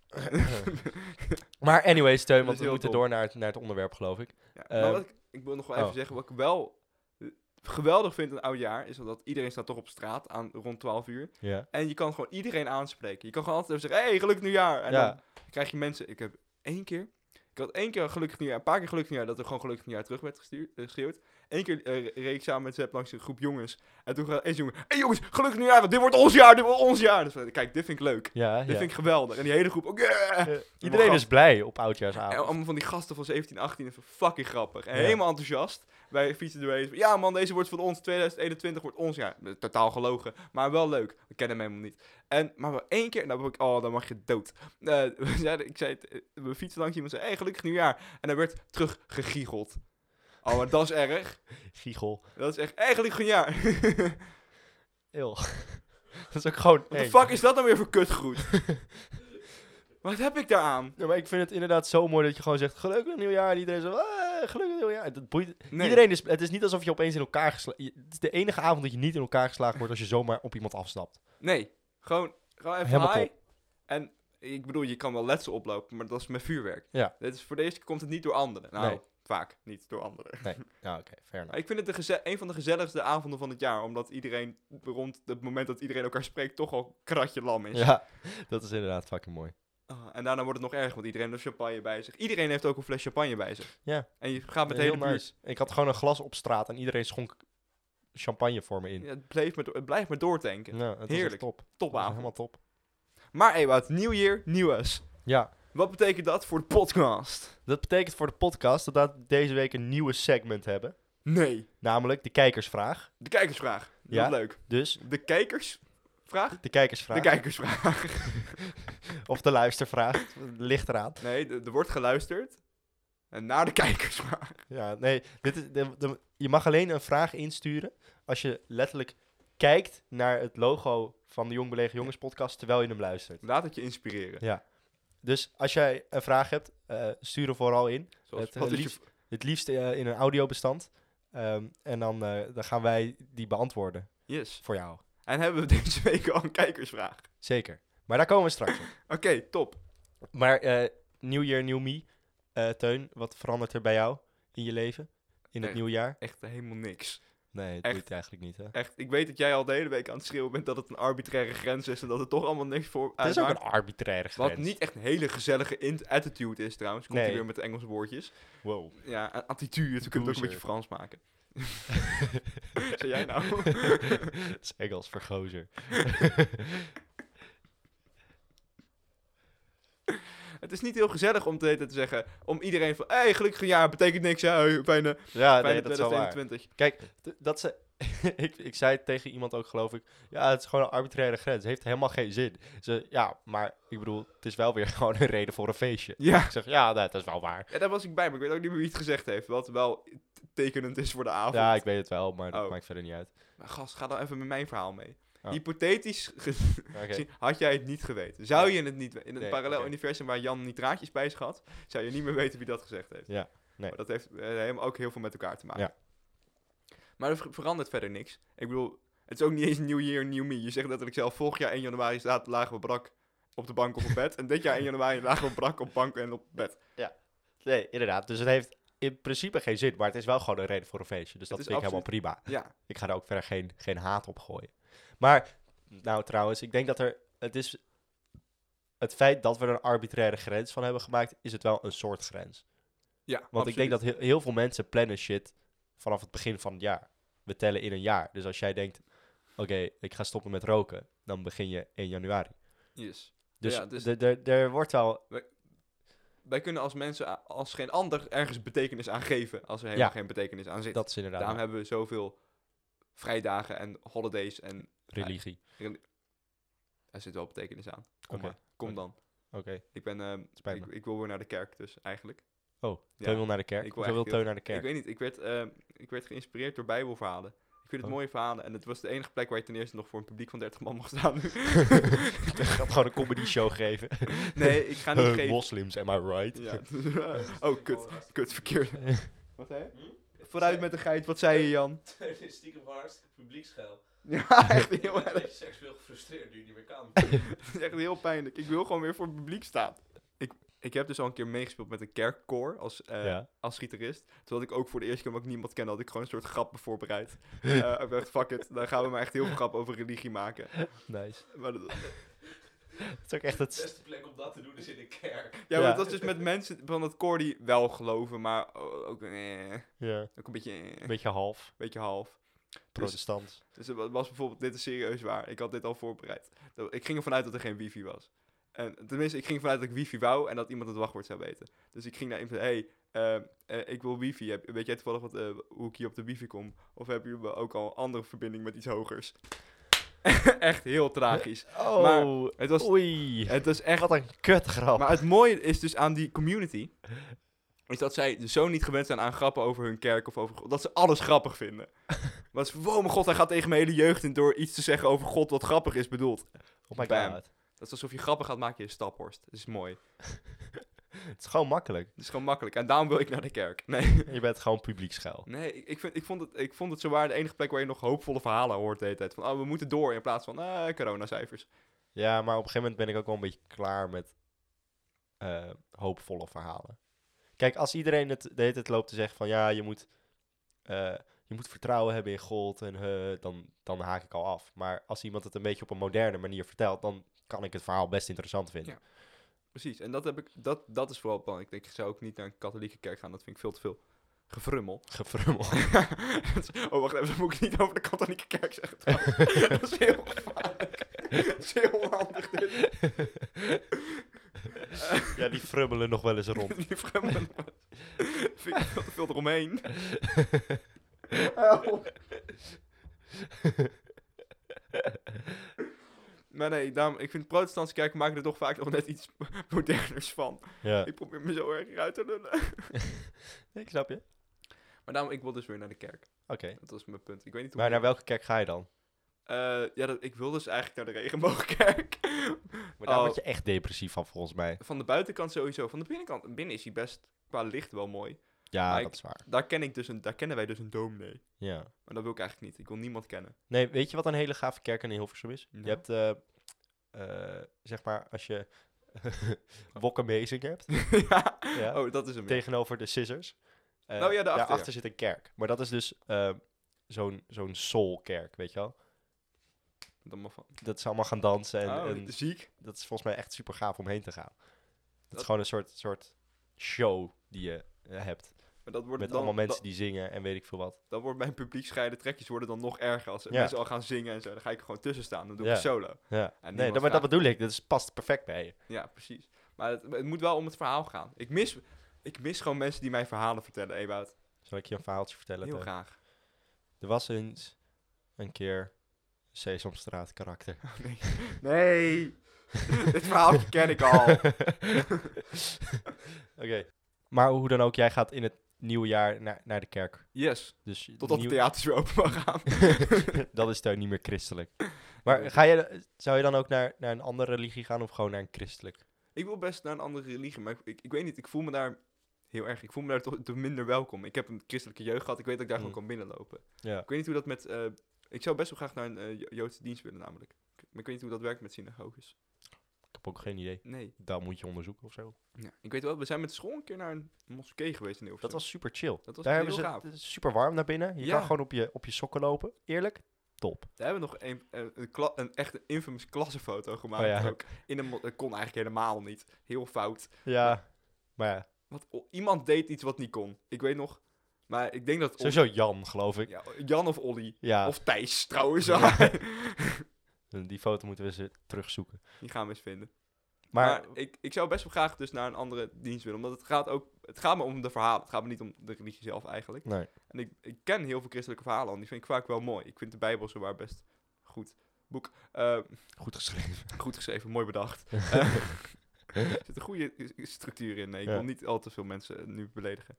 Speaker 2: maar anyway, Steun,
Speaker 1: Dat
Speaker 2: want
Speaker 1: is
Speaker 2: we
Speaker 1: heel
Speaker 2: moeten
Speaker 1: dom.
Speaker 2: door naar het, naar het onderwerp, geloof ik.
Speaker 1: Ja,
Speaker 2: Eh,
Speaker 1: maar wat ik, ik wil nog wel even
Speaker 2: oh.
Speaker 1: zeggen, wat ik wel eh, geweldig vind aan oudjaar, is dat iedereen staat toch op straat aan, rond 12 uur.
Speaker 2: Ja.
Speaker 1: En je kan gewoon iedereen aanspreken. Je kan gewoon altijd even zeggen, hey, gelukkig nieuwjaar. En
Speaker 2: Ja.
Speaker 1: dan krijg je mensen... Ik heb één keer... Ik had één keer een gelukkig nieuwjaar, een paar keer gelukkig nieuwjaar, dat er gewoon gelukkig nieuwjaar terug werd gestuurd, eh, geschreeuwd. Eén keer eh, reed ik samen met Zep langs een groep jongens. En toen gaat eens jongen, hey jongens, gelukkig nieuwjaar, want dit wordt ons jaar, dit wordt ons jaar. Dus eh, kijk, dit vind ik leuk.
Speaker 2: ja,
Speaker 1: Dit vind ik geweldig. En die hele groep ook, yeah!
Speaker 2: Eh, Iedereen is
Speaker 1: gast.
Speaker 2: blij op
Speaker 1: En
Speaker 2: oudjaarsavond.
Speaker 1: allemaal van die gasten van 17, 18, even fucking grappig. En
Speaker 2: Ja.
Speaker 1: helemaal enthousiast. Wij fietsen doorheen. van, Ja man, deze wordt van ons. 2021 wordt ons jaar. Eh, Totaal gelogen. Maar wel leuk. We kennen hem helemaal niet. En, maar wel één keer. Nou, ik, oh, dan mag je dood. Eh, [laughs] we, zeiden, ik zei het, eh, we fietsen langs iemand. zei, hey, gelukkig nieuwjaar. En er werd terug gegiegeld. Oh, maar dat
Speaker 2: [laughs]
Speaker 1: is erg.
Speaker 2: Giegel.
Speaker 1: Dat is echt eigenlijk nieuwjaar. [laughs]
Speaker 2: Eeuw. [laughs] dat is ook gewoon...
Speaker 1: Wat de
Speaker 2: eng.
Speaker 1: fuck is dat nou weer voor
Speaker 2: [laughs]
Speaker 1: kutgroet? Wat heb ik daaraan?
Speaker 2: Ja, maar ik vind het inderdaad zo mooi dat je gewoon zegt... Gelukkig nieuwjaar. En iedereen zo... "Ah, gelukkig nieuwjaar. Dat boeit...
Speaker 1: Nee.
Speaker 2: Iedereen is... Het is niet alsof je opeens in elkaar geslagen... Het is de enige avond dat je niet in elkaar geslagen wordt... als je zomaar op iemand afstapt.
Speaker 1: Nee, gewoon, gewoon even
Speaker 2: Helemaal
Speaker 1: high. En ik bedoel, je kan wel letsel oplopen, maar dat is met vuurwerk.
Speaker 2: Ja.
Speaker 1: Dit is, voor deze keer komt het niet door anderen. Nou,
Speaker 2: Nee.
Speaker 1: vaak niet door anderen.
Speaker 2: Ja, oké. fair
Speaker 1: Maar
Speaker 2: enough.
Speaker 1: ik vind het de geze- een van de gezelligste avonden van het jaar, omdat iedereen rond het moment dat iedereen elkaar spreekt toch al een kratje lam is.
Speaker 2: Ja, dat is inderdaad fucking mooi.
Speaker 1: Ah, en daarna wordt het nog erg, want iedereen heeft champagne bij zich. Iedereen heeft ook een fles champagne bij zich.
Speaker 2: Ja.
Speaker 1: En je gaat met de
Speaker 2: Heel
Speaker 1: hele buurt.
Speaker 2: nice. Ik had gewoon een glas op straat en iedereen schonk champagne voor me in.
Speaker 1: Ja, het, bleef maar, do- het blijft maar doortanken.
Speaker 2: Ja, het was echt
Speaker 1: Heerlijk.
Speaker 2: top. Het was
Speaker 1: Topavond.
Speaker 2: Helemaal top.
Speaker 1: Maar Ewout, nieuw jaar, nieuw us.
Speaker 2: Ja,
Speaker 1: Wat betekent dat voor de podcast?
Speaker 2: dat betekent voor de podcast dat we deze week een nieuwe segment hebben.
Speaker 1: Nee.
Speaker 2: Namelijk de kijkersvraag.
Speaker 1: De kijkersvraag. Ja.
Speaker 2: Ja.
Speaker 1: Wat leuk.
Speaker 2: Dus
Speaker 1: De kijkersvraag?
Speaker 2: de kijkersvraag.
Speaker 1: De kijkersvraag.
Speaker 2: [laughs] of de luistervraag. Het ligt eraan.
Speaker 1: Nee, d- er wordt geluisterd. En naar de kijkersvraag.
Speaker 2: Ja, nee. Dit is, de- de- je mag alleen een vraag insturen als je letterlijk kijkt naar het logo van de Jong Belegen Jongens podcast terwijl je hem luistert.
Speaker 1: Laat het je inspireren.
Speaker 2: Ja. Dus als jij een vraag hebt, eh, stuur hem vooral in.
Speaker 1: Zoals,
Speaker 2: Het, eh,
Speaker 1: wat is je
Speaker 2: liefst- Het liefst eh, in een audiobestand. Ehm, en dan, eh, dan gaan wij die beantwoorden
Speaker 1: Yes.
Speaker 2: voor jou.
Speaker 1: En hebben we deze week al een kijkersvraag.
Speaker 2: Zeker. Maar daar komen we straks op.
Speaker 1: Oké, top.
Speaker 2: Maar eh New Year, New Me. Eh, Teun, wat verandert er bij jou in je leven? In het
Speaker 1: Nee.
Speaker 2: nieuwe jaar?
Speaker 1: Echt helemaal niks.
Speaker 2: Nee, dat
Speaker 1: Echt.
Speaker 2: doet eigenlijk niet, hè?
Speaker 1: Echt, ik weet dat jij al de hele week aan het schreeuwen bent dat het een arbitraire grens is en dat het toch allemaal niks voor
Speaker 2: Het is ook
Speaker 1: uitmaakt.
Speaker 2: een arbitraire grens.
Speaker 1: Wat niet echt een hele gezellige in- attitude is trouwens. Komt
Speaker 2: Nee.
Speaker 1: hij weer met de Engelse woordjes.
Speaker 2: Wow.
Speaker 1: Ja, een attitude. Je kunt het ook een beetje Frans
Speaker 2: [laughs]
Speaker 1: maken. Zeg jij nou?
Speaker 2: [laughs] Het is Engels voor gozer.
Speaker 1: Het is niet heel gezellig om de hele tijd te zeggen, om iedereen van, hé, hey, gelukkig jaar, betekent niks, hè, hey, fijne,
Speaker 2: Ja, nee,
Speaker 1: fijne
Speaker 2: dat is wel waar.
Speaker 1: 2021.
Speaker 2: Kijk, d- dat ze. [laughs] ik, ik zei het tegen iemand ook, geloof ik. Ja, het is gewoon een arbitraire grens. Het heeft helemaal geen zin. Ze, ja, maar ik bedoel, het is wel weer [laughs] gewoon een reden voor een feestje.
Speaker 1: Ja.
Speaker 2: Ik zeg, ja, nee, dat is wel waar.
Speaker 1: ja, daar was ik bij, maar ik weet ook niet meer wie het gezegd heeft, wat wel t- tekenend is voor de avond.
Speaker 2: Ja, ik weet het wel, maar dat
Speaker 1: Oh.
Speaker 2: maakt verder niet
Speaker 1: [laughs]
Speaker 2: uit.
Speaker 1: Maar gast, ga dan even met mijn verhaal mee.
Speaker 2: Oh.
Speaker 1: Hypothetisch ge-
Speaker 2: Oké.
Speaker 1: gezien, had jij het niet geweten. Zou je het niet weten? In een
Speaker 2: Nee,
Speaker 1: parallel
Speaker 2: oké.
Speaker 1: universum waar Jan nitraatjes bij is gehad, zou je niet meer weten wie dat gezegd heeft.
Speaker 2: Ja, nee.
Speaker 1: Maar dat heeft eh, helemaal ook heel veel met elkaar te maken.
Speaker 2: Ja.
Speaker 1: Maar er ver- verandert verder niks. Ik bedoel, het is ook niet eens New Year, New Me. Je zegt letterlijk zelf, vorig jaar 1 januari staat, lagen we brak op de bank of op bed. en dit jaar 1 januari lagen we brak op bank en op bed.
Speaker 2: Nee, inderdaad. Dus het heeft in principe geen zin, maar het is wel gewoon een reden voor een feestje. Dus dat
Speaker 1: is
Speaker 2: vind ik helemaal prima.
Speaker 1: Ja,
Speaker 2: Ik ga daar ook verder geen, geen haat op gooien. Maar, nou trouwens, ik denk dat er... Het is... Het feit dat we er een arbitraire grens van hebben gemaakt, is het wel een soort grens.
Speaker 1: ja
Speaker 2: Want ik denk dat heel, heel veel mensen plannen shit vanaf het begin van het jaar. We tellen in een jaar. Dus als jij denkt, oké, ik ga stoppen met roken, dan begin je 1 januari.
Speaker 1: Yes.
Speaker 2: Dus
Speaker 1: Ja, dus-
Speaker 2: d- d- er wordt wel...
Speaker 1: Wij kunnen als mensen, a- als geen ander, ergens betekenis aan geven. Als er helemaal geen betekenis aan zit.
Speaker 2: Dat is inderdaad
Speaker 1: Daarom hebben we zoveel vrijdagen en holidays en
Speaker 2: religie.
Speaker 1: er zit wel betekenis aan. Kom
Speaker 2: Oké,
Speaker 1: maar, kom dan.
Speaker 2: oké.
Speaker 1: Ik ben, ehm,
Speaker 2: Spijt
Speaker 1: ik,
Speaker 2: me.
Speaker 1: ik wil weer naar de kerk dus, eigenlijk.
Speaker 2: Oh,
Speaker 1: Ja,
Speaker 2: Teun wil naar de kerk.
Speaker 1: ik wil
Speaker 2: Hoezo wil
Speaker 1: eigenlijk
Speaker 2: Teun naar de
Speaker 1: Ik
Speaker 2: kerk?
Speaker 1: weet niet, ik werd, ehm, ik werd geïnspireerd door bijbelverhalen. Ik vind het
Speaker 2: Oh.
Speaker 1: mooie verhalen en het was de enige plek waar je ten eerste nog voor een publiek van 30 man mag staan.
Speaker 2: [laughs] Ik ga [laughs] gewoon een comedy show geven.
Speaker 1: nee, ik ga niet
Speaker 2: [laughs] Eh,
Speaker 1: geven.
Speaker 2: moslims, am I right?
Speaker 1: Ja. [laughs] oh, kut, kut,
Speaker 2: [laughs]
Speaker 1: verkeerd. Wat hè? Vooruit met de geit, wat zei je
Speaker 2: [laughs]
Speaker 1: Jan?
Speaker 3: is stiekem gewoon hartstikke publieksgeil.
Speaker 1: Ja, echt heel
Speaker 3: Ik ben een
Speaker 1: erg.
Speaker 3: beetje seksueel gefrustreerd nu je niet meer
Speaker 1: [laughs]
Speaker 3: kan.
Speaker 1: Het is echt heel pijnlijk. Ik wil gewoon weer voor het publiek staan. Ik, ik heb dus al een keer meegespeeld met een kerkkoor als, eh,
Speaker 2: Ja.
Speaker 1: als gitarist. Terwijl ik ook voor de eerste keer, omdat ik niemand kende, had ik gewoon een soort grappen voorbereid. Eh, ik dacht, fuck it, dan gaan we maar echt heel veel grappen over religie maken.
Speaker 2: Nice.
Speaker 1: Maar dat,
Speaker 2: Het is ook echt
Speaker 3: De
Speaker 1: Dus-
Speaker 2: het...
Speaker 3: beste plek om dat te doen is in de kerk.
Speaker 1: ja, maar
Speaker 2: Ja.
Speaker 1: het was dus met mensen van het koor die wel geloven, maar o- ook, eh,
Speaker 2: Ja,
Speaker 1: ook een beetje, eh,
Speaker 2: een beetje half.
Speaker 1: beetje half.
Speaker 2: Protestants.
Speaker 1: Dus het wa- was bijvoorbeeld, dit is serieus waar, ik had dit al voorbereid. Dat- Ik ging ervan uit dat er geen wifi was. En, tenminste, ik ging ervan uit dat ik wifi wou en dat iemand het wachtwoord zou weten. Dus ik ging naar iemand van, hey, eh, eh, ik wil wifi. Heb- Weet jij toevallig wat, eh, hoe ik hier op de wifi kom? Of hebben jullie ook al een andere verbinding met iets hogers? [laughs] echt heel tragisch.
Speaker 2: Oh,
Speaker 1: Het was,
Speaker 2: oei.
Speaker 1: het was echt...
Speaker 2: Wat een kutgrap.
Speaker 1: Maar het mooie is dus aan die community... Is dat zij dus zo niet gewend zijn aan grappen over hun kerk of over... God, Dat ze alles grappig vinden. Want ze, wow, mijn god, hij gaat tegen mijn hele jeugd in door iets te zeggen over God wat grappig is bedoeld.
Speaker 2: oh my
Speaker 1: bam.
Speaker 2: god.
Speaker 1: Dat is alsof je grappen gaat maken in Staphorst. Dat is mooi.
Speaker 2: Het is gewoon makkelijk.
Speaker 1: Dat is gewoon makkelijk. En daarom wil ik naar de kerk. Nee,
Speaker 2: Je bent gewoon publieksgeil.
Speaker 1: nee ik, ik, vind, ik, vond het, ik vond het zowaar de enige plek waar je nog hoopvolle verhalen hoort de hele tijd. Van, oh, we moeten door in plaats van, eh, coronacijfers.
Speaker 2: Ja, maar op een gegeven moment ben ik ook wel een beetje klaar met eh, hoopvolle verhalen. Kijk, als iedereen het de hele tijd loopt te zeggen van ja, je moet, eh, je moet vertrouwen hebben in God en eh, dan, dan haak ik al af. Maar als iemand het een beetje op een moderne manier vertelt, dan kan ik het verhaal best interessant vinden.
Speaker 1: Precies. En dat, heb ik, dat, dat is vooral belangrijk. Ik zou ook niet naar een katholieke kerk gaan. Dat vind ik veel te veel gefrummel.
Speaker 2: Gefrummel.
Speaker 1: oh, wacht even, [laughs] dat moet ik niet over de katholieke kerk zeggen. trouwens. dat is heel gevaarlijk. dat is heel onhandig dit. [laughs]
Speaker 2: ja, die frummelen nog wel eens rond.
Speaker 1: [laughs] Die vreemdeling. Vind ik veel te veel eromheen. Maar nee, daarom, ik vind protestantse kerken maken er toch vaak nog net iets moderners van.
Speaker 2: Ja. [laughs]
Speaker 1: Ik probeer me zo erg uit te [laughs] lullen.
Speaker 2: Ik snap je. Oké.
Speaker 1: Maar daarom, ik wil dus weer naar de kerk. Dat was mijn punt. Ik weet niet hoe...
Speaker 2: Maar naar welke kerk ga je dan?
Speaker 1: Eh, ja, dat, ik wil dus eigenlijk naar de regenboogkerk.
Speaker 2: [laughs] Maar daar
Speaker 1: Oh.
Speaker 2: word je echt depressief van, volgens mij.
Speaker 1: Van de buitenkant sowieso. Van de binnenkant. Binnen is hij best qua licht wel mooi.
Speaker 2: Ja,
Speaker 1: Maar ik-
Speaker 2: dat is waar.
Speaker 1: Daar, ken ik dus een, daar kennen wij dus een dominee.
Speaker 2: Ja.
Speaker 1: Maar dat wil ik eigenlijk niet. Ik wil niemand kennen. [laughs]
Speaker 2: Nee, weet je wat een hele gave kerk in Hilversum is?
Speaker 1: Nou.
Speaker 2: Je hebt, eh, eh, zeg maar, als je [laughs] Wokkamezing
Speaker 1: [laughs]
Speaker 2: hebt,
Speaker 1: ja.
Speaker 2: Ja.
Speaker 1: Oh, dat is hem. ja.
Speaker 2: tegenover de Scissors. eh,
Speaker 1: Oh ja, daarachter,
Speaker 2: daarachter zit een kerk. Maar dat is dus eh, zo'n zo'n soulkerk, weet je wel?
Speaker 1: Dan maar van.
Speaker 2: Dat ze allemaal gaan dansen en,
Speaker 1: oh,
Speaker 2: en
Speaker 1: ziek.
Speaker 2: dat is volgens mij echt super gaaf om heen te gaan. Dat,
Speaker 1: Dat-
Speaker 2: is gewoon een soort, soort show die je eh, hebt.
Speaker 1: Maar dat wordt
Speaker 2: Met
Speaker 1: dan,
Speaker 2: allemaal mensen
Speaker 1: Dat,
Speaker 2: die zingen en weet ik veel wat.
Speaker 1: dan wordt mijn publiek scheiden trekjes worden dan nog erger. Als
Speaker 2: Ja.
Speaker 1: mensen al gaan zingen en zo. Dan ga ik er gewoon tussen staan. Dan doe
Speaker 2: Ja.
Speaker 1: ik solo.
Speaker 2: Ja.
Speaker 1: En
Speaker 2: Nee,
Speaker 1: niemand
Speaker 2: dat, maar dat
Speaker 1: vraagt-
Speaker 2: bedoel ik. Dat is, past perfect bij je.
Speaker 1: Ja, precies. Maar het, het moet wel om het verhaal gaan. Ik mis, ik mis gewoon mensen die mij verhalen vertellen, Ewout.
Speaker 2: Zal ik je een verhaaltje vertellen?
Speaker 1: Heel
Speaker 2: Teun?
Speaker 1: graag.
Speaker 2: Er was eens een keer Sesamstraat karakter.
Speaker 1: Nee. nee. [laughs] Dit verhaaltje ken ik al.
Speaker 2: [laughs] Oké. Maar hoe dan ook, jij gaat in het nieuwe jaar naar, naar de kerk.
Speaker 1: Yes.
Speaker 2: Dus
Speaker 1: Totdat de
Speaker 2: nieuw-
Speaker 1: theaters weer open mag
Speaker 2: [laughs]
Speaker 1: gaan. [laughs]
Speaker 2: dat is daar niet meer christelijk. Maar ga je, zou je dan ook naar, naar een andere religie gaan of gewoon naar een christelijk?
Speaker 1: Ik wil best naar een andere religie, maar ik, ik, ik weet niet, ik voel me daar heel erg, ik voel me daar toch, toch minder welkom. Ik heb een christelijke jeugd gehad, ik weet dat ik daar
Speaker 2: Mm.
Speaker 1: gewoon kan binnenlopen.
Speaker 2: Ja.
Speaker 1: Ik weet niet hoe dat met, eh, ik zou best wel graag naar een eh, Jo- Joodse dienst willen namelijk. Ik- Maar ik weet niet hoe dat werkt met synagoges.
Speaker 2: Ik heb ook geen idee.
Speaker 1: Nee.
Speaker 2: Dat moet je onderzoeken of zo.
Speaker 1: Ja. Ik weet wel, we zijn met de school een keer naar een moskee geweest in Hilversum.
Speaker 2: Dat was super chill.
Speaker 1: Dat was
Speaker 2: daar
Speaker 1: heel
Speaker 2: hebben ze
Speaker 1: gaaf.
Speaker 2: het is super warm naar binnen. Je
Speaker 1: Ja.
Speaker 2: kan gewoon op je, op je sokken lopen. Eerlijk, top.
Speaker 1: Daar hebben we nog een, eh, een, kla- een echt een infamous klassenfoto gemaakt
Speaker 2: Oh ja.
Speaker 1: ook. In een, mo- dat kon eigenlijk helemaal niet. Heel fout.
Speaker 2: Ja, maar ja,
Speaker 1: Wat, o- iemand deed iets wat niet kon. Ik weet nog. Maar ik denk dat... Olly-
Speaker 2: sowieso Jan, geloof ik.
Speaker 1: ja, Jan of Olly.
Speaker 2: Ja,
Speaker 1: Of Thijs trouwens.
Speaker 2: die foto moeten we ze terugzoeken.
Speaker 1: [laughs] Die gaan we eens vinden.
Speaker 2: Maar,
Speaker 1: Maar, ik, ik zou best wel graag dus naar een andere dienst willen. Omdat het gaat ook... Het gaat me om de verhalen. Het gaat me niet om de religie zelf eigenlijk.
Speaker 2: nee.
Speaker 1: En ik, ik ken heel veel christelijke verhalen. En die vind ik vaak wel mooi. Ik vind de Bijbel zowaar best goed. Boek. Eh,
Speaker 2: Goed geschreven. [laughs]
Speaker 1: Goed geschreven, mooi bedacht. Eh, er zit een goede s- structuur in. Nee, ik
Speaker 2: Ja.
Speaker 1: wil niet al te veel mensen nu beledigen.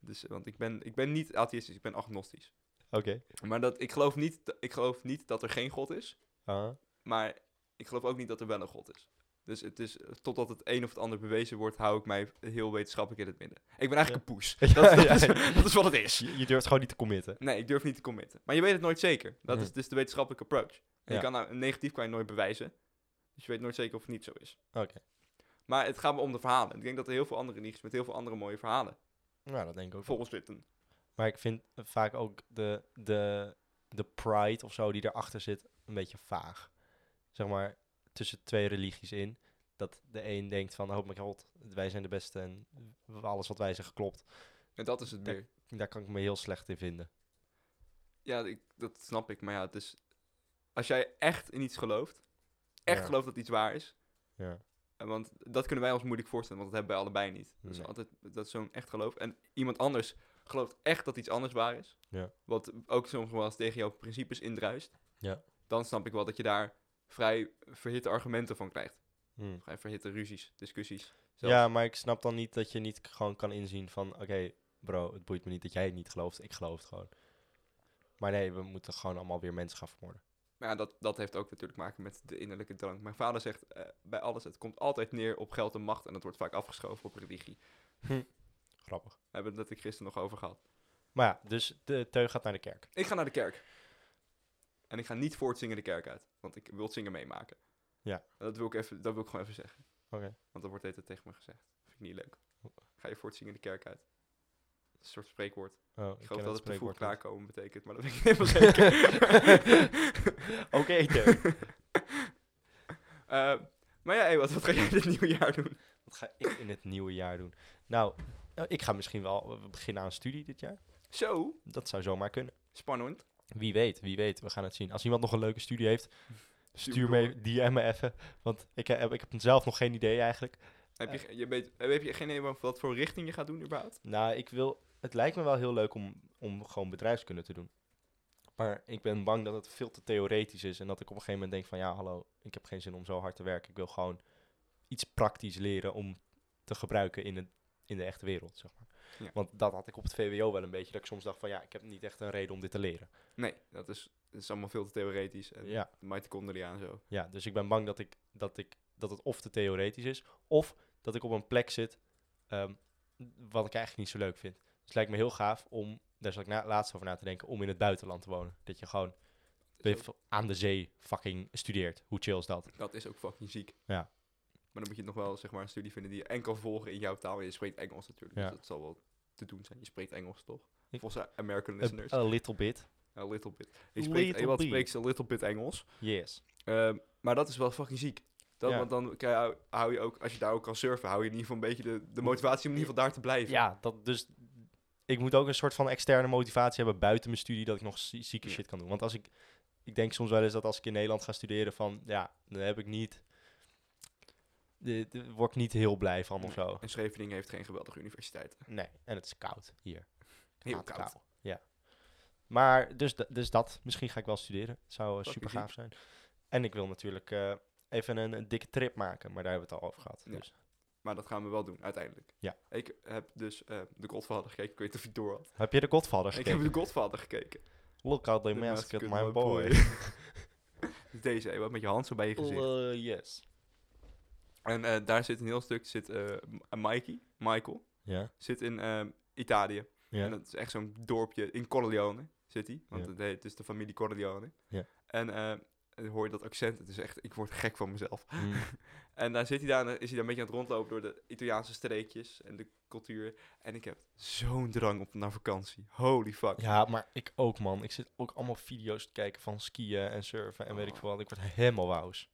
Speaker 1: Dus, eh, want ik ben, ik ben niet atheïstisch, ik ben agnostisch.
Speaker 2: Oké.
Speaker 1: Maar dat, ik, geloof niet, d- ik geloof niet dat er geen God is,
Speaker 2: Ah,
Speaker 1: maar ik geloof ook niet dat er wel een God is. Dus het is, eh, totdat het een of het ander bewezen wordt, hou ik mij heel wetenschappelijk in het midden. Ik ben eigenlijk een poes. Dat, is- dat,
Speaker 2: [laughs] Ja, ja.
Speaker 1: Is, dat is wat het is.
Speaker 2: Je, je durft gewoon niet te committen.
Speaker 1: Nee, ik durf niet te committen. Maar je weet het nooit zeker. Dat
Speaker 2: Mhm.
Speaker 1: is dus de wetenschappelijke approach. En
Speaker 2: Ja.
Speaker 1: Je kan nou, een negatief kan je nooit bewijzen. Dus je weet nooit zeker of het niet zo is.
Speaker 2: Oké.
Speaker 1: Maar het gaat me om de verhalen. Ik denk dat er heel veel andere religies met heel veel andere mooie verhalen.
Speaker 2: Nou, dat denk ik ook. wel.
Speaker 1: Volgens Witten.
Speaker 2: Maar ik vind vaak ook de, de, de pride of zo die erachter zit een beetje vaag. Zeg maar tussen twee religies in. Dat de een denkt van, oh mijn god, wij zijn de beste en alles wat wij zeggen klopt.
Speaker 1: En dat is het
Speaker 2: Ja.
Speaker 1: meer.
Speaker 2: Daar kan ik me heel slecht in vinden.
Speaker 1: Ja, ik, dat snap ik. Maar ja, het is... Als jij echt in iets gelooft, echt
Speaker 2: Ja.
Speaker 1: gelooft dat iets waar is...
Speaker 2: Ja.
Speaker 1: eh, Want dat kunnen wij ons moeilijk voorstellen, want dat hebben wij allebei niet. Dat is
Speaker 2: Nee.
Speaker 1: altijd dat is zo'n echt geloof. En iemand anders gelooft echt dat iets anders waar is.
Speaker 2: Ja.
Speaker 1: Wat ook soms wel eens tegen jouw principes indruist.
Speaker 2: Ja.
Speaker 1: Dan snap ik wel dat je daar vrij verhitte argumenten van krijgt. Vrij verhitte ruzies, discussies. Hmm. zelfs.
Speaker 2: Ja, maar ik snap dan niet dat je niet k- gewoon kan inzien van... Oké, bro, het boeit me niet dat jij het niet gelooft. Ik geloof het gewoon. Maar nee, we moeten gewoon allemaal weer mensen gaan vermoorden.
Speaker 1: Maar ja, dat, dat heeft ook natuurlijk te maken met de innerlijke drang. Mijn vader zegt eh, bij alles, het komt altijd neer op geld en macht. En dat wordt vaak afgeschoven op religie. We
Speaker 2: Hm. Grappig.
Speaker 1: hebben het net gisteren nog over gehad.
Speaker 2: Maar ja, dus de teug gaat naar de kerk.
Speaker 1: Ik ga naar de kerk. En ik ga niet voor het zingen de kerk uit. Want ik wil het zingen meemaken.
Speaker 2: Ja.
Speaker 1: En Dat wil ik, even, dat wil ik gewoon even zeggen.
Speaker 2: Oké.
Speaker 1: Want dat wordt de hele tijd tegen me gezegd. vind ik niet leuk. Ga je voor het zingen de kerk uit. Dat is een soort spreekwoord.
Speaker 2: Oh,
Speaker 1: Ik geloof dat het
Speaker 2: spreekwoord
Speaker 1: ervoor
Speaker 2: niet.
Speaker 1: klaarkomen betekent. Maar dat weet ik niet helemaal zeker.
Speaker 2: [laughs]
Speaker 1: [laughs]
Speaker 2: Oké, Teug.
Speaker 1: Eh, maar ja, Ewout, wat ga jij dit nieuwe jaar doen?
Speaker 2: Wat ga ik in het nieuwe jaar doen? Nou, nou, ik ga misschien wel eh, beginnen aan een studie dit jaar.
Speaker 1: Zo,
Speaker 2: Dat zou zomaar kunnen.
Speaker 1: spannend.
Speaker 2: Wie weet, wie weet. We gaan het zien. Als iemand nog een leuke studie heeft, stuur
Speaker 1: me
Speaker 2: me, DM me even. Want ik heb, ik heb zelf nog geen idee eigenlijk.
Speaker 1: Heb je, ge- je weet, heb je geen idee wat wat voor richting je gaat doen überhaupt?
Speaker 2: Nou, ik wil. Het lijkt me wel heel leuk om, om gewoon bedrijfskunde te doen. Maar ik ben bang dat het veel te theoretisch is. En dat ik op een gegeven moment denk van ja, hallo, ik heb geen zin om zo hard te werken. Ik wil gewoon iets praktisch leren om te gebruiken in, het, in de echte wereld. Zeg maar.
Speaker 1: Ja.
Speaker 2: Want dat had ik op het VWO wel een beetje. Dat ik soms dacht van ja, ik heb niet echt een reden om dit te leren.
Speaker 1: Nee, dat is het is allemaal veel te theoretisch. En
Speaker 2: Ja.
Speaker 1: mitochondria en zo.
Speaker 2: ja, dus ik ben bang dat, ik, dat, ik, dat het of te theoretisch is, of dat ik op een plek zit ehm, wat ik eigenlijk niet zo leuk vind. Dus het lijkt me heel gaaf om, daar zal ik na, laatst over na te denken, om in het buitenland te wonen. Dat je gewoon
Speaker 1: Dat is, ook,
Speaker 2: aan de zee fucking studeert. Hoe chill is dat?
Speaker 1: dat is ook fucking ziek.
Speaker 2: Ja.
Speaker 1: Maar dan moet je nog wel zeg maar, een studie vinden die je en kan volgen in jouw taal. En je spreekt Engels natuurlijk,
Speaker 2: Ja.
Speaker 1: dus dat zal wel te doen zijn. Je spreekt Engels toch?
Speaker 2: Ik-
Speaker 1: Volgens de American
Speaker 2: A,
Speaker 1: listeners.
Speaker 2: a little bit.
Speaker 1: A little bit. Ik spreek,
Speaker 2: Little
Speaker 1: iemand
Speaker 2: bit.
Speaker 1: spreekt een little bit Engels.
Speaker 2: Yes.
Speaker 1: Ehm, maar dat is wel fucking ziek. Dat,
Speaker 2: Ja.
Speaker 1: Want dan kan je, hou je ook, als je daar ook kan surfen, hou je in ieder geval een beetje de, de motivatie om in ieder geval daar te blijven.
Speaker 2: Ja, dat dus... Ik moet ook een soort van externe motivatie hebben buiten mijn studie dat ik nog zie- zieke
Speaker 1: Ja.
Speaker 2: shit kan doen. Want als ik... Ik denk soms wel eens dat als ik in Nederland ga studeren van... Ja, dan heb ik niet... de- de- word ik niet heel blij van of zo.
Speaker 1: En Scheveningen heeft geen geweldige universiteit.
Speaker 2: Nee, en het is koud hier.
Speaker 1: Heel
Speaker 2: Haat
Speaker 1: koud.
Speaker 2: Ja. Maar, dus, da- dus dat. Misschien ga ik wel studeren. Zou eh,
Speaker 1: Fucking
Speaker 2: super gaaf zijn. En ik wil natuurlijk eh, even een, een dikke trip maken. Maar daar hebben we het al over gehad.
Speaker 1: Ja.
Speaker 2: Dus.
Speaker 1: Maar dat gaan we wel doen, uiteindelijk.
Speaker 2: Ja.
Speaker 1: Ik heb dus eh The Godfather gekeken. Ik weet niet of je het door had.
Speaker 2: Heb je de Godfather
Speaker 1: Ik
Speaker 2: gekeken?
Speaker 1: heb The Godfather gekeken.
Speaker 2: Look out, they
Speaker 1: The
Speaker 2: massacred
Speaker 1: Massacre
Speaker 2: my
Speaker 1: of
Speaker 2: boy. [laughs]
Speaker 1: Deze, eh, wat met je hand zo bij je gezicht.
Speaker 2: Eh, yes.
Speaker 1: En eh, daar zit een heel stuk, zit eh, M- Mikey, Michael,
Speaker 2: Ja?
Speaker 1: zit in ehm, Italië. En
Speaker 2: Ja?
Speaker 1: dat is echt zo'n dorpje in Corleone zit hij. Want
Speaker 2: Ja.
Speaker 1: het heet dus de familie Corleone.
Speaker 2: Ja.
Speaker 1: En eh, dan hoor je dat accent. Het is echt, ik word gek van mezelf.
Speaker 2: Mm.
Speaker 1: [laughs] En daar zit hij daar, en dan is hij daar een beetje aan het rondlopen door de Italiaanse streekjes en de cultuur. En ik heb zo'n drang op naar vakantie. Holy fuck.
Speaker 2: Ja, maar ik ook, man. Ik zit ook allemaal video's te kijken van skiën en surfen en weet ik
Speaker 1: Oh.
Speaker 2: veel wat. Ik word helemaal wauws.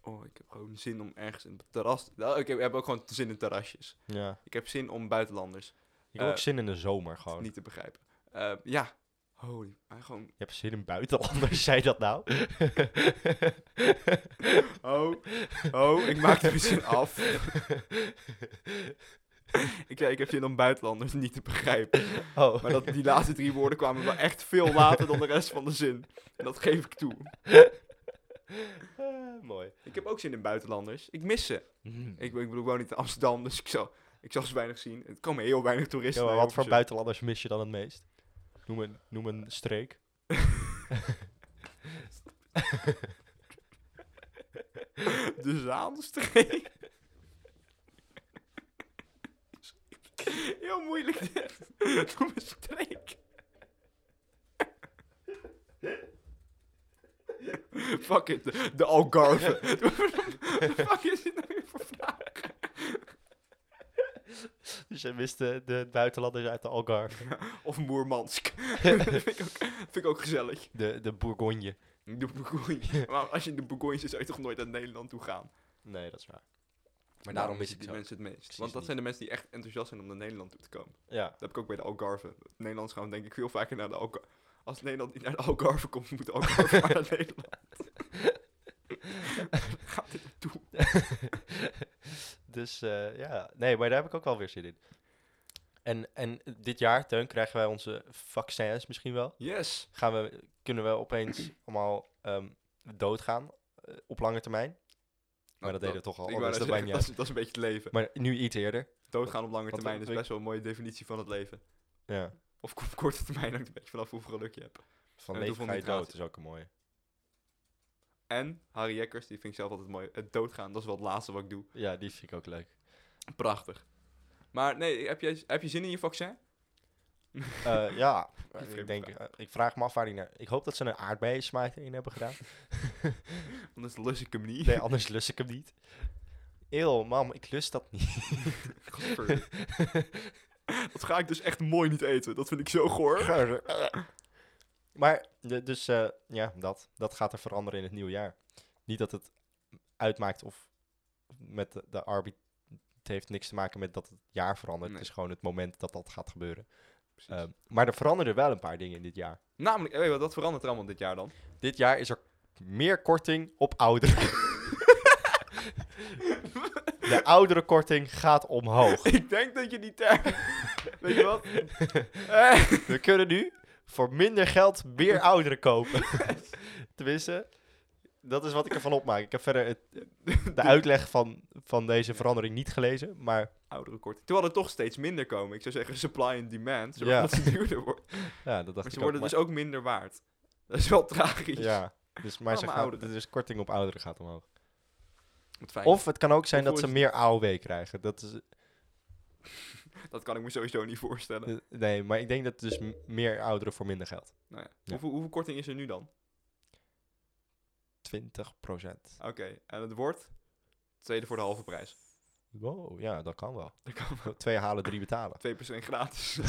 Speaker 1: Oh, ik heb gewoon zin om ergens in het terras. Nou, ik heb- ik heb ook gewoon zin in terrasjes.
Speaker 2: Ja.
Speaker 1: Ik heb zin om buitenlanders.
Speaker 2: Ik heb ook
Speaker 1: Eh,
Speaker 2: zin in de zomer
Speaker 1: Het is
Speaker 2: gewoon.
Speaker 1: niet te begrijpen. Eh, ja. Holy. maar Gewoon. [laughs]
Speaker 2: Je hebt zin in buitenlanders, [laughs] zei dat nou?
Speaker 1: Oh. Oh, ik maak er zin af. Ik zei, ik heb zin om buitenlanders niet te begrijpen.
Speaker 2: [laughs] Oh,
Speaker 1: Maar dat, die
Speaker 2: [laughs]
Speaker 1: laatste drie woorden kwamen wel echt veel later dan de rest van de zin. En dat geef ik toe.
Speaker 2: eh, mooi. Mm.
Speaker 1: Ik heb ook zin in buitenlanders. Ik mis ze. Ik, ben- ik bedoel, ik woon niet in Amsterdam, dus ik zal, ik zal ze weinig zien. Er komen heel weinig toeristen.
Speaker 2: Ja, maar
Speaker 1: naar
Speaker 2: wat voor
Speaker 1: Hilversum.
Speaker 2: buitenlanders mis je dan het meest? Noem een, noem een streek.
Speaker 1: [laughs] De Zaanstreek. Heel moeilijk dit. Noem een streek. Fuck it, de, de Algarve. Fuck is dit nou weer voor vraag?
Speaker 2: Dus jij mist de, de buitenlanders uit de Algarve.
Speaker 1: Of Moermansk. dat vind ik, ook, vind ik ook gezellig.
Speaker 2: De, de Bourgogne.
Speaker 1: De Bourgogne. Maar als je in de Bourgogne zit, zou je toch nooit naar Nederland toe gaan.
Speaker 2: Nee, dat is waar.
Speaker 1: Maar
Speaker 2: daarom mis
Speaker 1: missen
Speaker 2: ik
Speaker 1: die
Speaker 2: ze ook.
Speaker 1: mensen het meest.
Speaker 2: Precies
Speaker 1: Want dat
Speaker 2: niet.
Speaker 1: zijn de mensen die echt enthousiast zijn om naar Nederland toe te komen.
Speaker 2: Ja. [laughs]
Speaker 1: Dat heb ik ook bij de Algarve. Nederlands gaan we denk ik veel vaker naar de Algarve. Als Nederland niet naar de Algarve komt, moet de Algarve maar naar Nederland. Gaat dit naartoe?
Speaker 2: dus eh, ja, nee, maar daar heb ik ook wel weer zin in. En, en dit jaar, Teun, krijgen wij onze vaccins misschien wel.
Speaker 1: Yes!
Speaker 2: Gaan we, kunnen we opeens allemaal ehm, doodgaan eh, op lange termijn? Maar Nou, dat deden we toch al,
Speaker 1: ik wou
Speaker 2: anders,
Speaker 1: net
Speaker 2: dat maakt
Speaker 1: zeggen,
Speaker 2: niet
Speaker 1: dat,
Speaker 2: [laughs] uit.
Speaker 1: is, dat is een beetje het leven.
Speaker 2: Maar nu iets eerder.
Speaker 1: Doodgaan op lange
Speaker 2: wat-
Speaker 1: termijn is
Speaker 2: wat-
Speaker 1: best wel een mooie definitie van het leven.
Speaker 2: Ja.
Speaker 1: Of op korte termijn hangt een beetje vanaf hoeveel geluk je hebt.
Speaker 2: Van
Speaker 1: En
Speaker 2: leven
Speaker 1: hoeveel
Speaker 2: ga je dood,
Speaker 1: nitraten.
Speaker 2: is ook een mooie.
Speaker 1: En Harry Jekkers, die vind ik zelf altijd mooi. Het doodgaan, dat is wel het laatste wat ik doe.
Speaker 2: Ja, die vind ik ook leuk.
Speaker 1: Prachtig. Maar nee, heb je, heb je zin in je vaccin?
Speaker 2: Eh, [laughs] ja,
Speaker 1: vreemde
Speaker 2: ik, denk, eh, ik vraag me af waar die naar... Ik hoop dat ze een aardbeiensmaak erin hebben gedaan.
Speaker 1: Anders lus ik hem niet. [laughs]
Speaker 2: Nee, anders lust ik hem niet. Eeuw, mam, ik lust dat
Speaker 1: [laughs]
Speaker 2: niet.
Speaker 1: Gadver. dat ga ik dus echt mooi niet eten. Dat vind ik zo goor.
Speaker 2: maar, de- dus eh, ja, dat. Dat gaat er veranderen in het nieuwe jaar. Niet dat het uitmaakt of met de, de arbit... Het heeft niks te maken met dat het jaar verandert.
Speaker 1: Nee.
Speaker 2: Het is gewoon het moment dat dat gaat gebeuren. Ehm, maar er veranderden wel een paar dingen in dit jaar.
Speaker 1: Namelijk, hey, wat- wat verandert er allemaal dit jaar dan?
Speaker 2: Dit jaar is er meer korting op ouderen. De ouderenkorting gaat omhoog.
Speaker 1: [laughs] ik denk dat je die term... [laughs] Weet je wat?
Speaker 2: [laughs]
Speaker 1: [laughs] Eh,
Speaker 2: We kunnen nu voor minder geld
Speaker 1: [laughs]
Speaker 2: meer ouderen kopen. Tenminste, dat is wat ik ervan opmaak. Ik heb verder het, de uitleg van, van deze verandering niet gelezen. Maar
Speaker 1: Oudere korting. Terwijl er toch steeds minder komen. Ik zou zeggen supply and demand.
Speaker 2: Ja.
Speaker 1: Zodat ze duurder worden.
Speaker 2: ja, dat dacht
Speaker 1: Maar
Speaker 2: ik
Speaker 1: ze
Speaker 2: ook.
Speaker 1: worden
Speaker 2: maar-
Speaker 1: dus ook minder waard. Dat is wel tragisch.
Speaker 2: Ja. Dus, maar
Speaker 1: Oh,
Speaker 2: ze
Speaker 1: maar
Speaker 2: gaan-
Speaker 1: ouderen.
Speaker 2: dus korting op ouderen gaat omhoog.
Speaker 1: Wat fijn.
Speaker 2: Of het kan ook zijn dat
Speaker 1: Hoeveel
Speaker 2: ze
Speaker 1: is
Speaker 2: meer AOW krijgen. Dat is,
Speaker 1: Dat kan ik me sowieso niet voorstellen.
Speaker 2: eh, nee, maar ik denk dat dus m- meer ouderen voor minder geld.
Speaker 1: Nou ja.
Speaker 2: Ja.
Speaker 1: Hoeveel, hoeveel korting is er nu dan?
Speaker 2: 20 procent.
Speaker 1: Oké, en het wordt tweede voor de halve prijs.
Speaker 2: Wow, ja, dat kan wel.
Speaker 1: Dat kan wel.
Speaker 2: Twee halen, drie
Speaker 1: [laughs]
Speaker 2: betalen.
Speaker 1: Twee per se
Speaker 2: [laughs]
Speaker 1: gratis.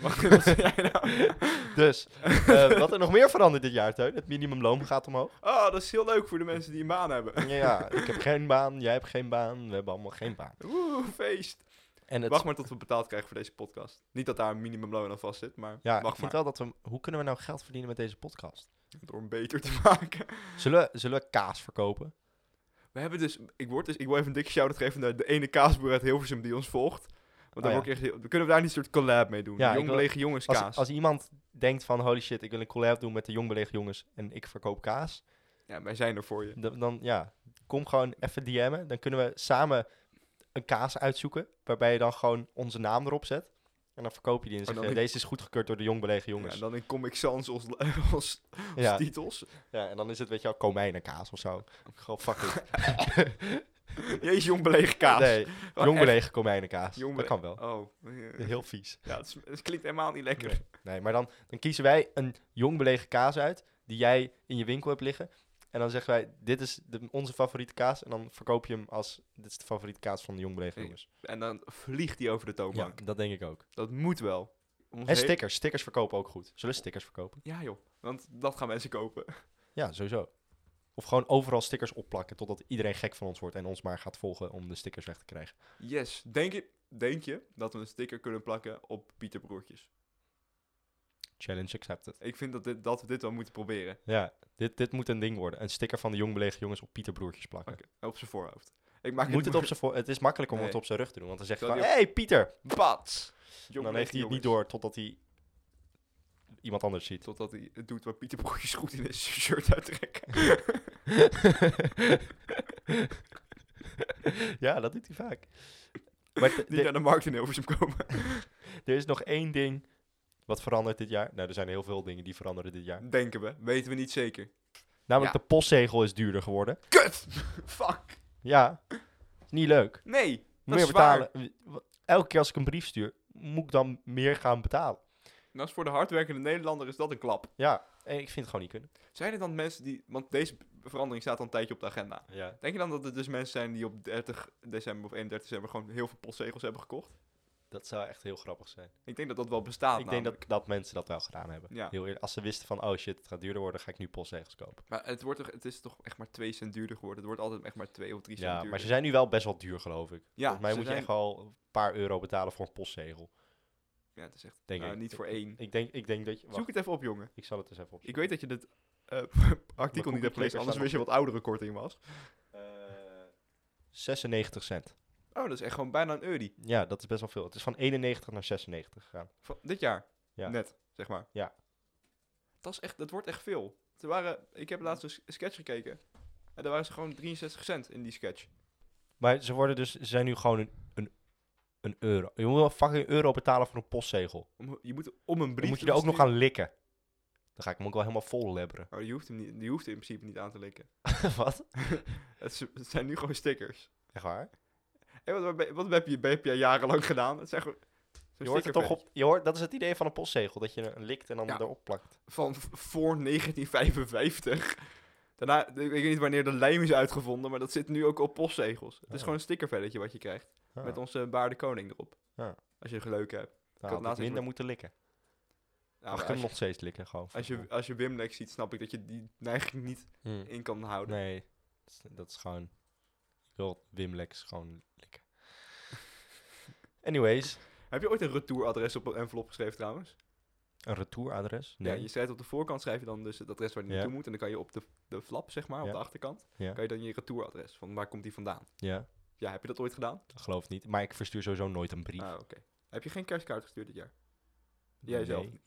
Speaker 1: Wacht, wat [laughs] zei jij nou?
Speaker 2: Dus, eh, wat er nog meer verandert dit jaar, Teun? Het minimumloon gaat omhoog.
Speaker 1: Oh, dat is heel leuk voor de mensen die een baan hebben.
Speaker 2: Ja, ik heb geen baan, jij hebt geen baan, we hebben allemaal geen baan.
Speaker 1: Oeh, feest.
Speaker 2: En het,
Speaker 1: Wacht maar tot we betaald krijgen voor deze podcast. Niet dat daar een minimumloon aan vast zit, maar
Speaker 2: ja, ik
Speaker 1: wacht
Speaker 2: vind
Speaker 1: maar.
Speaker 2: wel dat we... Hoe kunnen we nou geld verdienen met deze podcast?
Speaker 1: Door hem beter te [laughs] maken.
Speaker 2: Zullen, we- zullen we kaas verkopen?
Speaker 1: We hebben dus, ik, word dus, ik wil even een dikke shout-out geven naar de ene kaasboer uit Hilversum die ons volgt. Want
Speaker 2: Oh
Speaker 1: dan
Speaker 2: ja.
Speaker 1: word ik echt, heel- kunnen we daar niet een soort collab mee doen?
Speaker 2: Ja,
Speaker 1: Ja,
Speaker 2: ik
Speaker 1: Jong
Speaker 2: wil-
Speaker 1: belegen jongens kaas.
Speaker 2: Als, als iemand denkt van, holy shit, ik wil een collab doen met de jongbeleefde jongens en ik verkoop kaas.
Speaker 1: Ja, wij zijn er voor je.
Speaker 2: Dan, dan, ja, kom gewoon even DM'en. Dan kunnen we samen een kaas uitzoeken, waarbij je dan gewoon onze naam erop zet. En Oh, dan verkoop je die en
Speaker 1: dan
Speaker 2: zeg je,
Speaker 1: ik-
Speaker 2: deze is goedgekeurd door de jongbelegen [laughs] jongens.
Speaker 1: Ja, en dan in Comic Sans [laughs] als, als, als
Speaker 2: [laughs] Ja.
Speaker 1: titels.
Speaker 2: Ja, en dan is het, weet je wel, komijnenkaas of zo. Gewoon fuck [laughs] it.
Speaker 1: Jezus, jong belegen kaas.
Speaker 2: Nee,
Speaker 1: [laughs] Oh,
Speaker 2: jongbelegen komijnenkaas.
Speaker 1: Jong
Speaker 2: Dat kan wel.
Speaker 1: Oh,
Speaker 2: [laughs] Heel vies.
Speaker 1: ja, het, is- het klinkt helemaal niet lekker.
Speaker 2: Nee, maar dan, dan kiezen wij een jongbelegen kaas uit, die jij in je winkel hebt liggen. En dan zeggen wij, dit is de, onze favoriete kaas. En dan verkoop je hem als, dit is de favoriete kaas van de jongbelegen
Speaker 1: Hey,
Speaker 2: jongens.
Speaker 1: En dan vliegt hij over de
Speaker 2: Ja,
Speaker 1: toonbank.
Speaker 2: dat denk ik ook.
Speaker 1: Dat moet wel. Om ons
Speaker 2: En
Speaker 1: heen-
Speaker 2: stickers. Stickers verkopen ook goed. Zullen we stickers verkopen?
Speaker 1: Ja joh, want dat gaan mensen kopen.
Speaker 2: Ja, sowieso. Of gewoon overal stickers opplakken, totdat iedereen gek van ons wordt en ons maar gaat volgen om de stickers weg te krijgen.
Speaker 1: Yes, denk je, denk je dat we een sticker kunnen plakken op Pieter Broertjes?
Speaker 2: Challenge accepted.
Speaker 1: Ik vind dat, dit, dat we dit wel moeten proberen.
Speaker 2: Ja, dit, dit moet een ding worden. Een sticker van de jongbelegen jongens op Pieter Broertjes plakken.
Speaker 1: Oké, Op zijn voorhoofd. Ik maak
Speaker 2: Moet
Speaker 1: [laughs]
Speaker 2: het, op zijn voor- het is makkelijk om
Speaker 1: Nee.
Speaker 2: het op zijn rug te doen, want dan zegt hij
Speaker 1: Zal
Speaker 2: van, hey Pieter!
Speaker 1: pad.
Speaker 2: En dan heeft hij het niet door totdat hij iemand
Speaker 1: [laughs]
Speaker 2: anders ziet.
Speaker 1: Totdat hij het doet waar Pieter Broertjes goed in is, [laughs] zijn shirt
Speaker 2: [laughs]
Speaker 1: uittrekken.
Speaker 2: ja, dat doet hij vaak. Maar
Speaker 1: [laughs]
Speaker 2: de-
Speaker 1: Niet
Speaker 2: de-
Speaker 1: naar de markt in Hilversum komen.
Speaker 2: er is nog één ding wat verandert dit jaar. Nou, er zijn heel veel dingen die veranderen dit jaar.
Speaker 1: Denken we, weten we niet zeker.
Speaker 2: Namelijk
Speaker 1: Ja.
Speaker 2: de postzegel is duurder geworden.
Speaker 1: Kut! Fuck!
Speaker 2: Ja, is niet leuk.
Speaker 1: Nee! Dat
Speaker 2: meer
Speaker 1: is waar.
Speaker 2: betalen. Elke keer als ik een brief stuur, moet ik dan meer gaan betalen.
Speaker 1: En als voor de hardwerkende Nederlander is dat een klap.
Speaker 2: Ja, en ik vind het gewoon niet kunnen.
Speaker 1: Zijn er dan mensen die... Want deze verandering staat al een tijdje op de agenda.
Speaker 2: Ja.
Speaker 1: Denk je dan dat er dus mensen zijn die op 30 december of 31 december gewoon heel veel postzegels hebben gekocht?
Speaker 2: Dat zou echt heel grappig zijn.
Speaker 1: Ik denk dat dat wel bestaat
Speaker 2: ik denk dat, dat mensen dat wel gedaan hebben.
Speaker 1: Ja.
Speaker 2: Heel eerlijk, als ze wisten van, oh shit, het gaat duurder worden, ga ik nu postzegels kopen.
Speaker 1: Maar het, wordt toch, het is toch echt maar 2 cent duurder geworden. Het wordt altijd echt maar 2 of 3 cent
Speaker 2: Ja,
Speaker 1: duurder.
Speaker 2: maar ze zijn nu wel best wel duur, geloof ik.
Speaker 1: Ja,
Speaker 2: Volgens mij
Speaker 1: ze
Speaker 2: moet je
Speaker 1: zijn-
Speaker 2: echt wel een paar euro betalen voor een postzegel.
Speaker 1: Ja, het is echt
Speaker 2: Denk
Speaker 1: nou,
Speaker 2: ik.
Speaker 1: niet voor één.
Speaker 2: Ik denk, ik denk dat je...
Speaker 1: Zoek
Speaker 2: Wacht,
Speaker 1: het even op, jongen.
Speaker 2: ik zal het eens even opzoeken.
Speaker 1: Ik weet dat je dit eh, artikel niet
Speaker 2: koekje
Speaker 1: hebt gelezen,
Speaker 2: klikkers
Speaker 1: anders
Speaker 2: staan
Speaker 1: wist je wat oudere korting was.
Speaker 3: Eh,
Speaker 2: 96 cent.
Speaker 1: Oh, dat is echt gewoon bijna een euro.
Speaker 2: Ja, dat is best wel veel. Het is van 91 naar 96 gegaan.
Speaker 1: Van dit jaar.
Speaker 2: Ja.
Speaker 1: Net, zeg maar.
Speaker 2: Ja.
Speaker 1: Dat, is echt, dat wordt echt veel. Er waren, ik heb laatst een s- sketch gekeken. En daar waren ze gewoon 63 cent in die sketch.
Speaker 2: Maar ze worden dus, ze zijn nu gewoon een, een, een euro. Je moet wel fucking een euro betalen voor een postzegel.
Speaker 1: Om, je moet om een brief
Speaker 2: Dan moet je
Speaker 1: te
Speaker 2: er ook nog
Speaker 1: versturen-
Speaker 2: aan likken. Dan ga ik hem ook wel helemaal vol lebberen. [laughs]
Speaker 1: Oh, je hoeft, hem niet, je hoeft er in principe niet aan te likken.
Speaker 2: Wat?
Speaker 1: Het, is- het zijn nu gewoon stickers.
Speaker 2: Echt waar?
Speaker 1: Hé, wat, wat, wat heb, je, heb je jarenlang gedaan? Het zijn gewoon... zo'n
Speaker 2: Je hoort het toch
Speaker 1: stickerfans.
Speaker 2: op, je hoort, dat is het idee van een postzegel, dat je er likt en dan
Speaker 1: Ja.
Speaker 2: erop plakt.
Speaker 1: van v- voor 1955. Daarna, ik weet niet wanneer de lijm is uitgevonden, maar dat zit nu ook op postzegels. Het is
Speaker 2: Oh.
Speaker 1: gewoon een stickervelletje wat je krijgt.
Speaker 2: Ah,
Speaker 1: Met onze baarde koning erop.
Speaker 2: Ja.
Speaker 1: Als je geluk hebt.
Speaker 2: dan
Speaker 1: had
Speaker 2: had ik
Speaker 1: laatst
Speaker 2: minder
Speaker 1: even-
Speaker 2: moeten likken.
Speaker 1: Nou,
Speaker 2: Mag ik
Speaker 1: maar
Speaker 2: hem
Speaker 1: als, je,
Speaker 2: nog steeds likken gewoon.
Speaker 1: als, je, als je Wimlex ziet, snap ik dat je die neiging niet
Speaker 2: Hmm.
Speaker 1: in kan houden.
Speaker 2: Nee, dat is- dat is gewoon... Ik wil Wim Lex gewoon
Speaker 1: [laughs]
Speaker 2: likken. Anyways,
Speaker 1: Heb je ooit een retouradres op een envelop geschreven trouwens?
Speaker 2: een retouradres?
Speaker 1: Ja,
Speaker 2: Nee.
Speaker 1: je schrijft op de voorkant schrijf je dan dus het adres waar die
Speaker 2: Ja.
Speaker 1: naartoe moet. En dan kan je op de, de flap, zeg maar, op
Speaker 2: Ja.
Speaker 1: de achterkant,
Speaker 2: Ja.
Speaker 1: kan je dan je retouradres. Van waar komt die vandaan?
Speaker 2: ja,
Speaker 1: Ja, heb je dat ooit gedaan?
Speaker 2: dat geloof ik niet. Maar ik verstuur sowieso nooit een brief.
Speaker 1: Ah, oké. Heb je geen kerstkaart gestuurd dit jaar? Jij zelf
Speaker 2: Nee.
Speaker 1: niet.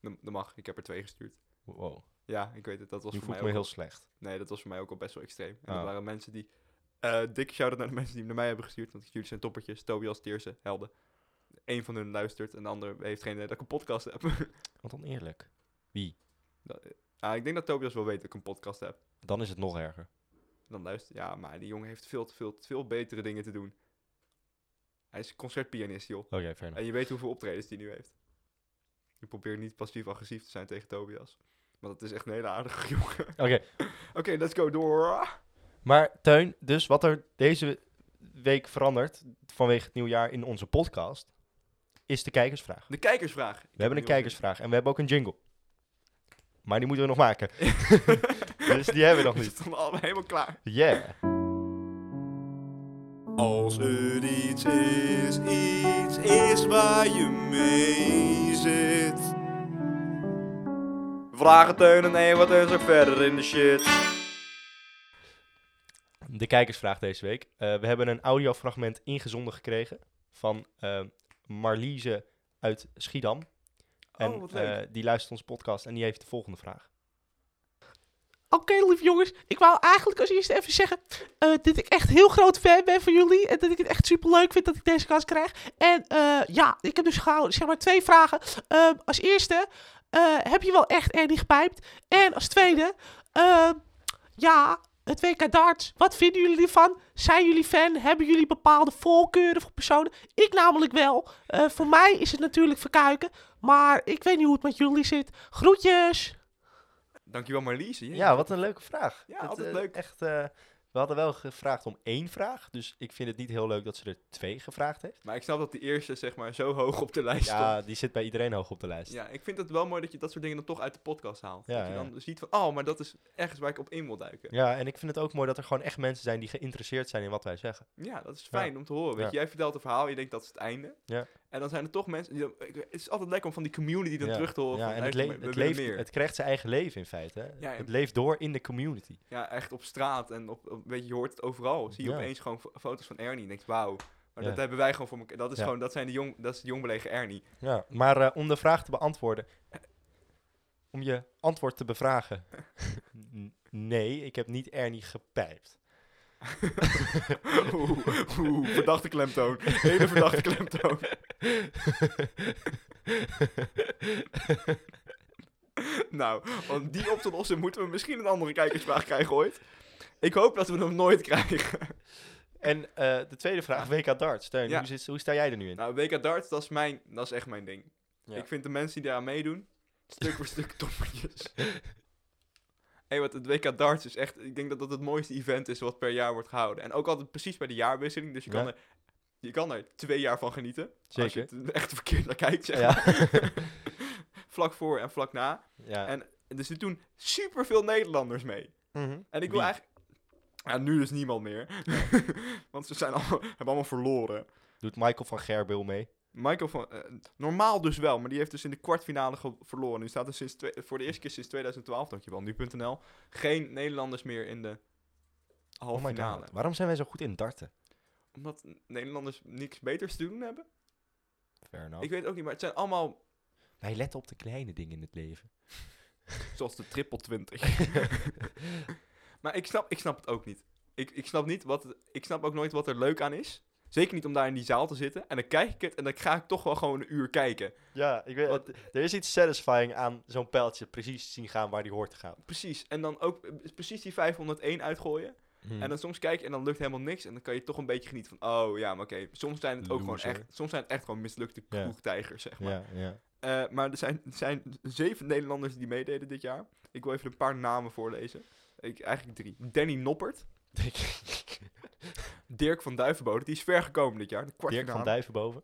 Speaker 1: Dat, dat mag, ik heb er twee gestuurd.
Speaker 2: Wow,
Speaker 1: Ja, ik weet het, dat was
Speaker 2: nu
Speaker 1: voor
Speaker 2: voel
Speaker 1: mij ook
Speaker 2: ik me heel
Speaker 1: al-
Speaker 2: slecht.
Speaker 1: Nee, dat was voor mij ook al best wel extreem. En
Speaker 2: Oh.
Speaker 1: dat waren mensen die... eh dikke shout-out naar de mensen die hem naar mij hebben gestuurd. Want jullie zijn toppertjes, Tobias, Teersen, Helden. Eén van hun luistert en de ander heeft geen idee dat ik een podcast heb. [laughs]
Speaker 2: Wat oneerlijk. Wie?
Speaker 1: Dat- ah, ik denk dat Tobias wel weet dat ik een podcast heb.
Speaker 2: Dan is het nog erger.
Speaker 1: Dan luister Ja, maar die jongen heeft veel, te- veel, te- veel betere dingen te doen. Hij is concertpianist, joh.
Speaker 2: Oké, fair enough.
Speaker 1: En je weet hoeveel optredens die nu heeft. Ik probeer niet passief-agressief te zijn tegen Tobias. Want dat is echt een hele aardige [laughs] jongen.
Speaker 2: Oké,
Speaker 1: Oké, let's go door.
Speaker 2: maar Teun, dus wat er deze week verandert vanwege het nieuwjaar in onze podcast, is de kijkersvraag.
Speaker 1: De kijkersvraag.
Speaker 2: We hebben een kijkersvraag en we hebben ook een jingle. Maar die moeten we nog maken. [laughs] dus die hebben we nog
Speaker 1: We
Speaker 2: niet.
Speaker 1: stonden allemaal helemaal klaar.
Speaker 2: Yeah.
Speaker 4: Als er iets is, iets is waar je mee zit.
Speaker 1: Vragen Teun en nee, wat is er verder in de shit?
Speaker 2: De kijkersvraag deze week. Eh, we hebben een audiofragment ingezonden gekregen van eh, Marliese uit Schiedam. En
Speaker 1: Oh, wat leuk.
Speaker 2: eh, die luistert onze podcast en die heeft de volgende vraag.
Speaker 5: Oké, lieve jongens. Ik wou eigenlijk als eerste even zeggen eh, dat ik echt heel groot fan ben van jullie. En dat ik het echt super leuk vind dat ik deze kans krijg. En eh, ja, ik heb dus gauw, zeg maar twee vragen. Ehm, als eerste, eh, heb je wel echt Andy gepijpt? En als tweede, ehm, ja, het WK darts. Wat vinden jullie ervan? Zijn jullie fan? Hebben jullie bepaalde voorkeuren voor personen? Ik namelijk wel. Eh, voor mij is het natuurlijk verkuiken. Maar ik weet niet hoe het met jullie zit. Groetjes!
Speaker 1: Dankjewel Marlies. Jee.
Speaker 2: Ja, wat een leuke vraag.
Speaker 1: Ja, altijd
Speaker 2: eh,
Speaker 1: leuk.
Speaker 2: Echt, eh, we hadden wel gevraagd om één vraag. Dus ik vind het niet heel leuk dat ze er twee gevraagd heeft.
Speaker 1: Maar ik snap dat die eerste zeg maar zo hoog op de lijst
Speaker 2: Ja, die zit bij iedereen hoog op de lijst.
Speaker 1: stond. Ja, ik vind het wel mooi dat je dat soort dingen dan toch uit de podcast haalt.
Speaker 2: Ja,
Speaker 1: dat je
Speaker 2: ja.
Speaker 1: dan ziet van, oh, maar dat is ergens waar ik op in wil duiken.
Speaker 2: Ja, en ik vind het ook mooi dat er gewoon echt mensen zijn die geïnteresseerd zijn in wat wij zeggen.
Speaker 1: Ja, dat is fijn om te horen. Weet
Speaker 2: Ja.
Speaker 1: je, jij vertelt een verhaal, je denkt dat is het einde.
Speaker 2: Ja.
Speaker 1: En dan zijn er toch mensen. Die dan, ik- het is altijd lekker om van die community dan
Speaker 2: Ja.
Speaker 1: terug te horen.
Speaker 2: Ja,
Speaker 1: van,
Speaker 2: en het,
Speaker 1: luister,
Speaker 2: le-
Speaker 1: we
Speaker 2: het,
Speaker 1: willen
Speaker 2: leeft,
Speaker 1: meer.
Speaker 2: het krijgt zijn eigen leven in feite. hè.
Speaker 1: Ja, en-
Speaker 2: het leeft door in de community.
Speaker 1: Ja, echt op straat en op, op- weet je, je hoort het overal. Zie je
Speaker 2: Ja.
Speaker 1: opeens gewoon fo- foto's van Ernie. En denkt, wauw. Maar
Speaker 2: Ja.
Speaker 1: dat hebben wij gewoon voor elkaar. Dat is
Speaker 2: Ja.
Speaker 1: gewoon, dat zijn de jong, dat is de jong belegen
Speaker 2: [laughs]
Speaker 1: Ernie. [laughs]
Speaker 2: Ja, maar eh, om de vraag te beantwoorden. eh, Om je antwoord te bevragen. [laughs] N- nee, ik heb niet Ernie gepijpt.
Speaker 1: [laughs] oeh, oeh, verdachte klemtoon. Hele verdachte
Speaker 2: [laughs]
Speaker 1: klemtoon. [laughs] nou, want die op te lossen moeten we misschien een andere kijkersvraag krijgen ooit. Ik hoop dat we hem nooit krijgen.
Speaker 2: En eh, de tweede vraag, WK darts. Steun,
Speaker 1: Ja.
Speaker 2: hoe, zit- hoe sta jij er nu in?
Speaker 1: Nou, WK darts, dat is, mijn, dat is echt mijn ding.
Speaker 2: Ja.
Speaker 1: Ik vind de mensen die daaraan meedoen, stuk voor stuk toppertjes.
Speaker 2: [laughs]
Speaker 1: Hé, wat het WK darts is echt... Ik denk dat dat het mooiste event is wat per jaar wordt gehouden. En ook altijd precies bij de jaarwisseling. Dus je, kan,
Speaker 2: Ja.
Speaker 1: er, je kan er twee jaar van genieten. Als je
Speaker 2: Zeker.
Speaker 1: het echt verkeerd naar kijkt, zeg
Speaker 2: Ja.
Speaker 1: [laughs] Vlak voor en vlak na.
Speaker 2: ja.
Speaker 1: En dus er doen superveel Nederlanders mee.
Speaker 2: Mhm.
Speaker 1: En ik wil
Speaker 2: Wie?
Speaker 1: eigenlijk... Ja, nu dus niemand meer. [laughs] Want ze zijn allemaal, hebben allemaal verloren.
Speaker 2: Doet Michael van Gerbil mee?
Speaker 1: Michael van... eh, normaal dus wel, maar die heeft dus in de kwartfinale ge- verloren. Nu staat er sinds twee- voor de eerste keer sinds 2012, dankjewel, nu.nl, geen Nederlanders meer in de
Speaker 2: Oh
Speaker 1: halve
Speaker 2: my
Speaker 1: finale.
Speaker 2: god. Waarom zijn wij zo goed in darten?
Speaker 1: Omdat Nederlanders niks beters te doen hebben?
Speaker 2: Fair enough.
Speaker 1: Ik weet het ook niet, maar het zijn allemaal
Speaker 2: Wij letten op de kleine dingen in het leven.
Speaker 1: zoals de triple 20. [laughs] maar ik snap, ik snap het ook niet. Ik, ik, snap niet wat, het- ik snap ook nooit wat er leuk aan is. Zeker niet om daar in die zaal te zitten. En dan kijk ik het en dan ga ik toch wel gewoon een uur kijken.
Speaker 2: Ja, ik weet,
Speaker 1: Wat-
Speaker 2: er is iets satisfying aan zo'n pijltje precies zien gaan waar die hoort te gaan.
Speaker 1: Precies. En dan ook eh, precies die 501 uitgooien.
Speaker 2: Mhm.
Speaker 1: En dan soms kijk je en dan lukt helemaal niks. En dan kan je toch een beetje genieten van, oh ja, maar oké. Soms zijn het ook gewoon
Speaker 2: Loser.
Speaker 1: echt, soms zijn het echt gewoon mislukte
Speaker 2: Ja.
Speaker 1: kroegtijgers, zeg maar.
Speaker 2: ja, ja.
Speaker 1: Eh, maar er zijn, er zijn zeven Nederlanders die meededen dit jaar. Ik wil even een paar namen voorlezen. Ik, eigenlijk drie. Danny Noppert. Dirk van Duivenbode. Die is ver gekomen dit jaar. De
Speaker 2: Dirk van
Speaker 1: kwartfinale.
Speaker 2: Duivenboven.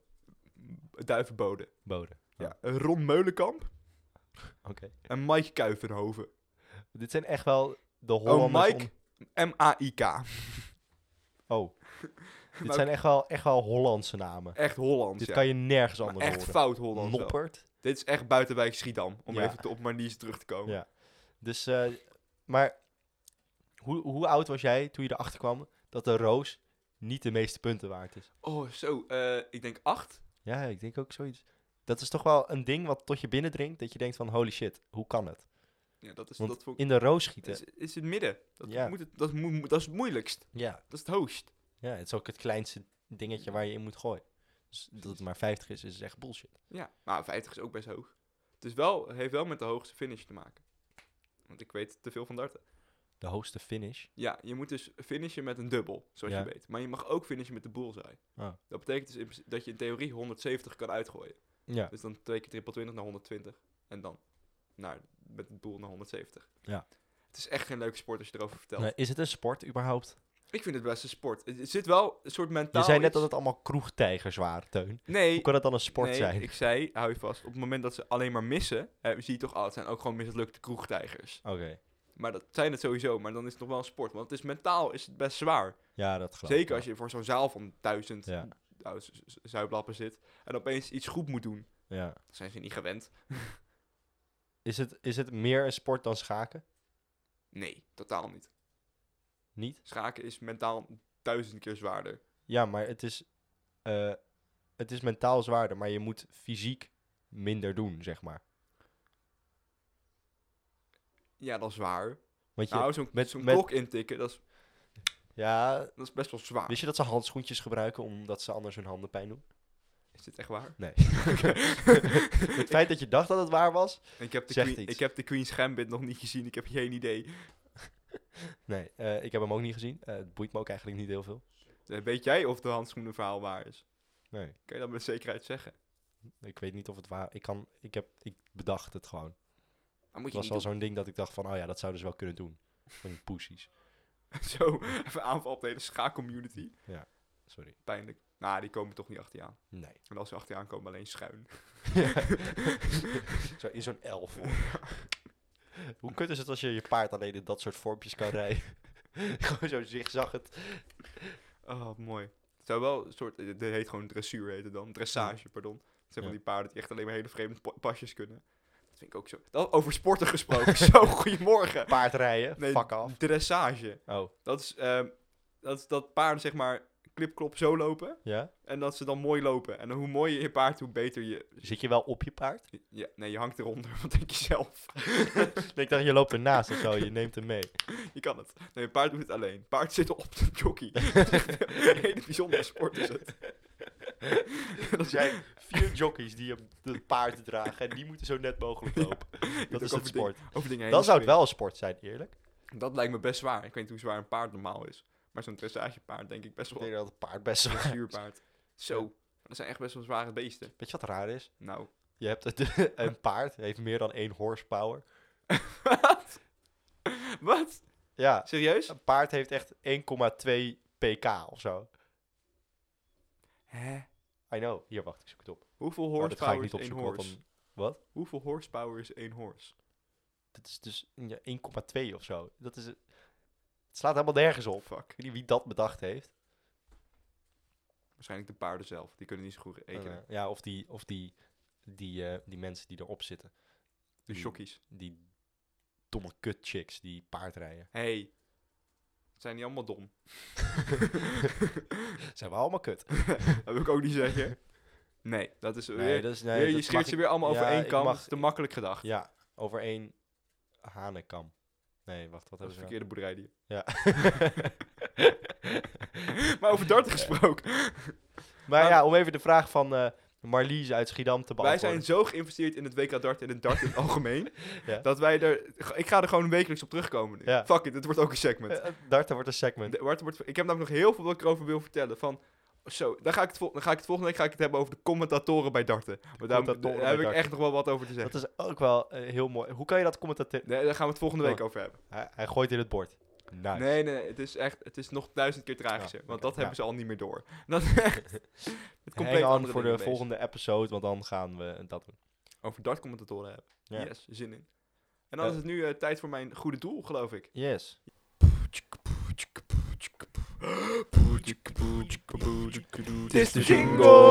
Speaker 1: Duivenbode.
Speaker 2: Boden.
Speaker 1: Ja. Eh, Ron Meulenkamp.
Speaker 2: Oh. Oké.
Speaker 1: En Mike Kuivenhoven.
Speaker 2: Dit zijn echt wel de
Speaker 1: Oh,
Speaker 2: Hollanders.
Speaker 1: Mike. M-A-I-K.
Speaker 2: om- Oh.
Speaker 1: [laughs]
Speaker 2: Dit zijn echt wel, echt wel Hollandse namen.
Speaker 1: Echt Hollands,
Speaker 2: Dit
Speaker 1: ja.
Speaker 2: kan je nergens
Speaker 1: Maar
Speaker 2: anders
Speaker 1: echt
Speaker 2: horen.
Speaker 1: fout Hollands wel.
Speaker 2: Noppert.
Speaker 1: Dit is echt buitenwijk Schiedam. Om
Speaker 2: Ja.
Speaker 1: even te, op Marlies terug te komen.
Speaker 2: Ja. Dus, eh, maar hoe, hoe oud was jij toen je erachter kwam dat de Roos niet de meeste punten waard is?
Speaker 1: Oh, zo. eh, ik denk acht.
Speaker 2: Ja, ik denk ook zoiets. Dat is toch wel een ding wat tot je binnendringt, dat je denkt van holy shit, hoe kan het?
Speaker 1: Ja, dat is,
Speaker 2: Want
Speaker 1: dat vond ik-
Speaker 2: In de roos schieten.
Speaker 1: is, is het midden. Dat,
Speaker 2: Ja.
Speaker 1: moet het, dat, moet, moet- dat is het moeilijkst.
Speaker 2: Ja.
Speaker 1: Dat is het hoogst.
Speaker 2: ja, het is ook het kleinste dingetje waar je in moet gooien. Dus dat het maar 50 is, is echt bullshit.
Speaker 1: Nou, Ja, maar 50 is ook best hoog. Het is wel, heeft wel met de hoogste finish te maken. Want ik weet te veel van darten.
Speaker 2: De hoogste finish.
Speaker 1: Ja, je moet dus finishen met een dubbel, zoals
Speaker 2: Ja.
Speaker 1: je weet. Maar je mag ook finishen met de bullseye.
Speaker 2: Ah.
Speaker 1: Dat betekent dus in principe dat je in theorie 170 kan uitgooien.
Speaker 2: Ja.
Speaker 1: Dus dan twee keer triple 20 naar 120. En dan naar, met het doel naar 170.
Speaker 2: Ja.
Speaker 1: Het is echt geen leuke sport als je erover vertelt.
Speaker 2: Nee, is het een sport überhaupt?
Speaker 1: Ik vind het best een sport. Het het zit wel een soort mentaal
Speaker 2: Je zei net
Speaker 1: iets-
Speaker 2: dat het allemaal kroegtijgers waren, Teun. Hoe
Speaker 1: Nee,
Speaker 2: kan het dan een sport
Speaker 1: nee,
Speaker 2: zijn?
Speaker 1: ik zei, hou je vast, op het moment dat ze alleen maar missen, eh, zie je toch altijd, zijn ook gewoon mislukte kroegtijgers.
Speaker 2: Oké.
Speaker 1: Maar dat zijn het sowieso, maar dan is het nog wel een sport. Want het is mentaal is het best zwaar.
Speaker 2: Ja, dat geloof ik
Speaker 1: Zeker
Speaker 2: wel.
Speaker 1: als je voor zo'n zaal van duizend
Speaker 2: Ja.
Speaker 1: nou, z- z- zuiplappen zit en opeens iets goed moet doen.
Speaker 2: Ja.
Speaker 1: Dat zijn ze niet gewend.
Speaker 2: Is, het, is het meer een sport dan schaken?
Speaker 1: Nee, totaal niet.
Speaker 2: Niet?
Speaker 1: Schaken is mentaal duizend keer zwaarder.
Speaker 2: Ja, maar het is, eh, het is mentaal zwaarder, maar je moet fysiek minder doen, zeg maar.
Speaker 1: Ja, dat is waar.
Speaker 2: Want je,
Speaker 1: Nou, zo'n
Speaker 2: met-
Speaker 1: zo'n
Speaker 2: met-
Speaker 1: klok intikken, dat is,
Speaker 2: ja,
Speaker 1: dat is best wel zwaar.
Speaker 2: wist je dat ze handschoentjes gebruiken omdat ze anders hun handen
Speaker 1: [laughs]
Speaker 2: pijn doen?
Speaker 1: Is dit echt waar? [laughs]
Speaker 2: Nee. [laughs] het feit dat je dacht dat het waar was?
Speaker 1: Ik heb, de
Speaker 2: Zegt
Speaker 1: Queen,
Speaker 2: iets.
Speaker 1: ik heb de Queen's Gambit nog niet gezien, ik heb geen idee.
Speaker 2: Nee, eh, ik heb hem ook niet gezien. Eh, het boeit me ook eigenlijk niet heel veel.
Speaker 1: Eh, Weet jij of de handschoenen verhaal waar is?
Speaker 2: Nee,
Speaker 1: Kan je dat met zekerheid zeggen?
Speaker 2: ik weet niet of het waar... Ik, kan, ik, heb, ik bedacht het gewoon.
Speaker 1: Maar moet
Speaker 2: Het
Speaker 1: je
Speaker 2: was
Speaker 1: niet
Speaker 2: al zo'n ding dat ik dacht van, oh ja, dat zouden ze wel kunnen doen. Van die poesies.
Speaker 1: doen. [laughs] zo even aanval op de hele schaakcommunity.
Speaker 2: Sorry.
Speaker 1: Pijnlijk. Nou, die komen toch niet achter je aan. [laughs]
Speaker 2: Nee.
Speaker 1: En als ze achter je aankomen, alleen
Speaker 2: [laughs]
Speaker 1: schuin.
Speaker 2: Zo in zo'n elf. [laughs] Hoe kut is het als je je paard alleen in dat soort vormpjes [laughs] kan rijden? Gewoon zo zigzag het.
Speaker 1: Oh, mooi. Het zou wel een soort... Het heet gewoon dressuur, heet het dan. Dressage, pardon. Het zijn van
Speaker 2: Ja.
Speaker 1: die paarden die echt alleen maar hele vreemde pa- pasjes kunnen. Dat vind ik ook zo... Dat, over
Speaker 2: [laughs]
Speaker 1: sporten gesproken. zo, goedemorgen.
Speaker 2: Paardrijden,
Speaker 1: Nee,
Speaker 2: fuck af.
Speaker 1: Dressage.
Speaker 2: Oh,
Speaker 1: Dat is, ehm, dat is dat paarden, zeg maar, klipklop zo lopen.
Speaker 2: ja?
Speaker 1: En dat ze dan mooi lopen. En hoe mooier je paard, hoe beter je...
Speaker 2: Zit je wel op je paard?
Speaker 1: Ja, nee, je hangt eronder. [laughs] Wat denk je
Speaker 2: [laughs]
Speaker 1: zelf?
Speaker 2: ik dacht, je loopt ernaast of zo, je neemt hem [laughs] mee.
Speaker 1: Je kan het. Nee, een paard doet het alleen. Paard zit op de
Speaker 2: [laughs]
Speaker 1: jockey. Dat is echt een hele bijzondere sport is het.
Speaker 2: Er zijn vier jockeys die op de paarden dragen en die moeten zo net mogelijk lopen. [laughs] dat
Speaker 1: ook
Speaker 2: is
Speaker 1: over
Speaker 2: het sport.
Speaker 1: dingen- over dingen heen
Speaker 2: Dan zou
Speaker 1: springen.
Speaker 2: het wel een sport zijn, eerlijk.
Speaker 1: Dat lijkt me best zwaar. Ik weet niet hoe zwaar een paard normaal is. Maar zo'n dressagepaard denk ik best
Speaker 2: Ik [laughs]
Speaker 1: wel
Speaker 2: denk
Speaker 1: een
Speaker 2: dat het paard best wel... [laughs]
Speaker 1: dressuurpaard. Zo. Dat zijn echt best wel zware beesten.
Speaker 2: Weet je wat raar is?
Speaker 1: Nou.
Speaker 2: Je hebt [laughs] een paard, heeft meer dan één horsepower.
Speaker 1: Wat? Wat?
Speaker 2: Ja,
Speaker 1: Serieus?
Speaker 2: een paard heeft echt 1,2 pk of zo.
Speaker 1: Hè?
Speaker 2: I know. Hier, wacht, ik zoek het op.
Speaker 1: Hoeveel
Speaker 2: Oh, dat ga ik
Speaker 1: horsepower
Speaker 2: niet
Speaker 1: is één
Speaker 2: opzoeken, want
Speaker 1: horse?
Speaker 2: dan... Wat?
Speaker 1: Hoeveel horsepower is één horse?
Speaker 2: Dat is dus ja, 1,2 of zo. Dat is... Het slaat helemaal nergens op. Ik
Speaker 1: Fuck.
Speaker 2: weet niet wie dat bedacht heeft.
Speaker 1: Waarschijnlijk de paarden zelf. Die kunnen niet zo goed rekenen.
Speaker 2: Eh, ja, of die, of die, die, eh, die mensen die erop zitten.
Speaker 1: de
Speaker 2: die-
Speaker 1: shockies.
Speaker 2: Die domme kut chicks die paardrijden.
Speaker 1: Hey. Zijn die allemaal dom?
Speaker 2: [laughs] Zijn we allemaal kut?
Speaker 1: Dat wil ik ook niet zeggen. Nee, dat is... weer-
Speaker 2: dat is,
Speaker 1: weer- je
Speaker 2: dat
Speaker 1: scheert
Speaker 2: mag
Speaker 1: ze
Speaker 2: ik-
Speaker 1: weer allemaal over
Speaker 2: Ja,
Speaker 1: één
Speaker 2: ik
Speaker 1: kam.
Speaker 2: mag-
Speaker 1: Dat is te makkelijk gedacht.
Speaker 2: Ja, over één hanenkam. Nee, wacht, wat
Speaker 1: dat is
Speaker 2: hebben
Speaker 1: de verkeerde
Speaker 2: ze
Speaker 1: boerderij
Speaker 2: [laughs]
Speaker 1: die.
Speaker 2: Ja.
Speaker 1: maar over darten gesproken.
Speaker 2: Maar
Speaker 1: Maar-
Speaker 2: ja, om even de vraag van eh Marlies uit Schiedam te
Speaker 1: Wij
Speaker 2: beantwoorden.
Speaker 1: zijn zo geïnvesteerd in het WK dart en het dart in het algemeen.
Speaker 2: [laughs] Ja.
Speaker 1: Dat wij er... Ik ga er gewoon wekelijks op terugkomen nu.
Speaker 2: Ja.
Speaker 1: Fuck it, het wordt ook een segment.
Speaker 2: Eh, eh, darten wordt een segment.
Speaker 1: De- wordt- wordt- ik heb namelijk nog heel veel wat ik erover wil vertellen. Van, zo, dan ga ik het, vol- dan ga ik het volgende week ga ik het hebben over de commentatoren bij darten. Maar daar, daar
Speaker 2: commentatoren bij
Speaker 1: heb ik
Speaker 2: darten.
Speaker 1: echt nog wel wat over te
Speaker 2: Dat
Speaker 1: zeggen.
Speaker 2: is ook wel eh, heel mooi. Hoe kan je dat commentator...
Speaker 1: Nee, daar gaan we het volgende week
Speaker 2: Oh.
Speaker 1: over hebben.
Speaker 2: Hij, hij gooit in het bord. Nice.
Speaker 1: Nee, nee, het is echt, het is nog duizend keer tragischer.
Speaker 2: Ja,
Speaker 1: want
Speaker 2: oké,
Speaker 1: dat
Speaker 2: ja.
Speaker 1: hebben ze al niet meer
Speaker 2: [laughs]
Speaker 1: door. Dat is echt het compleet
Speaker 2: Hang on
Speaker 1: andere
Speaker 2: voor de
Speaker 1: dingen bezig.
Speaker 2: volgende episode, want dan gaan we dat doen.
Speaker 1: Over dartcommentatoren hebben.
Speaker 2: Ja.
Speaker 1: Yes, zin in. En dan
Speaker 2: Eh.
Speaker 1: is het nu eh, tijd voor mijn goede doel, geloof ik. [laughs]
Speaker 2: Yes.
Speaker 4: Het is de jingle.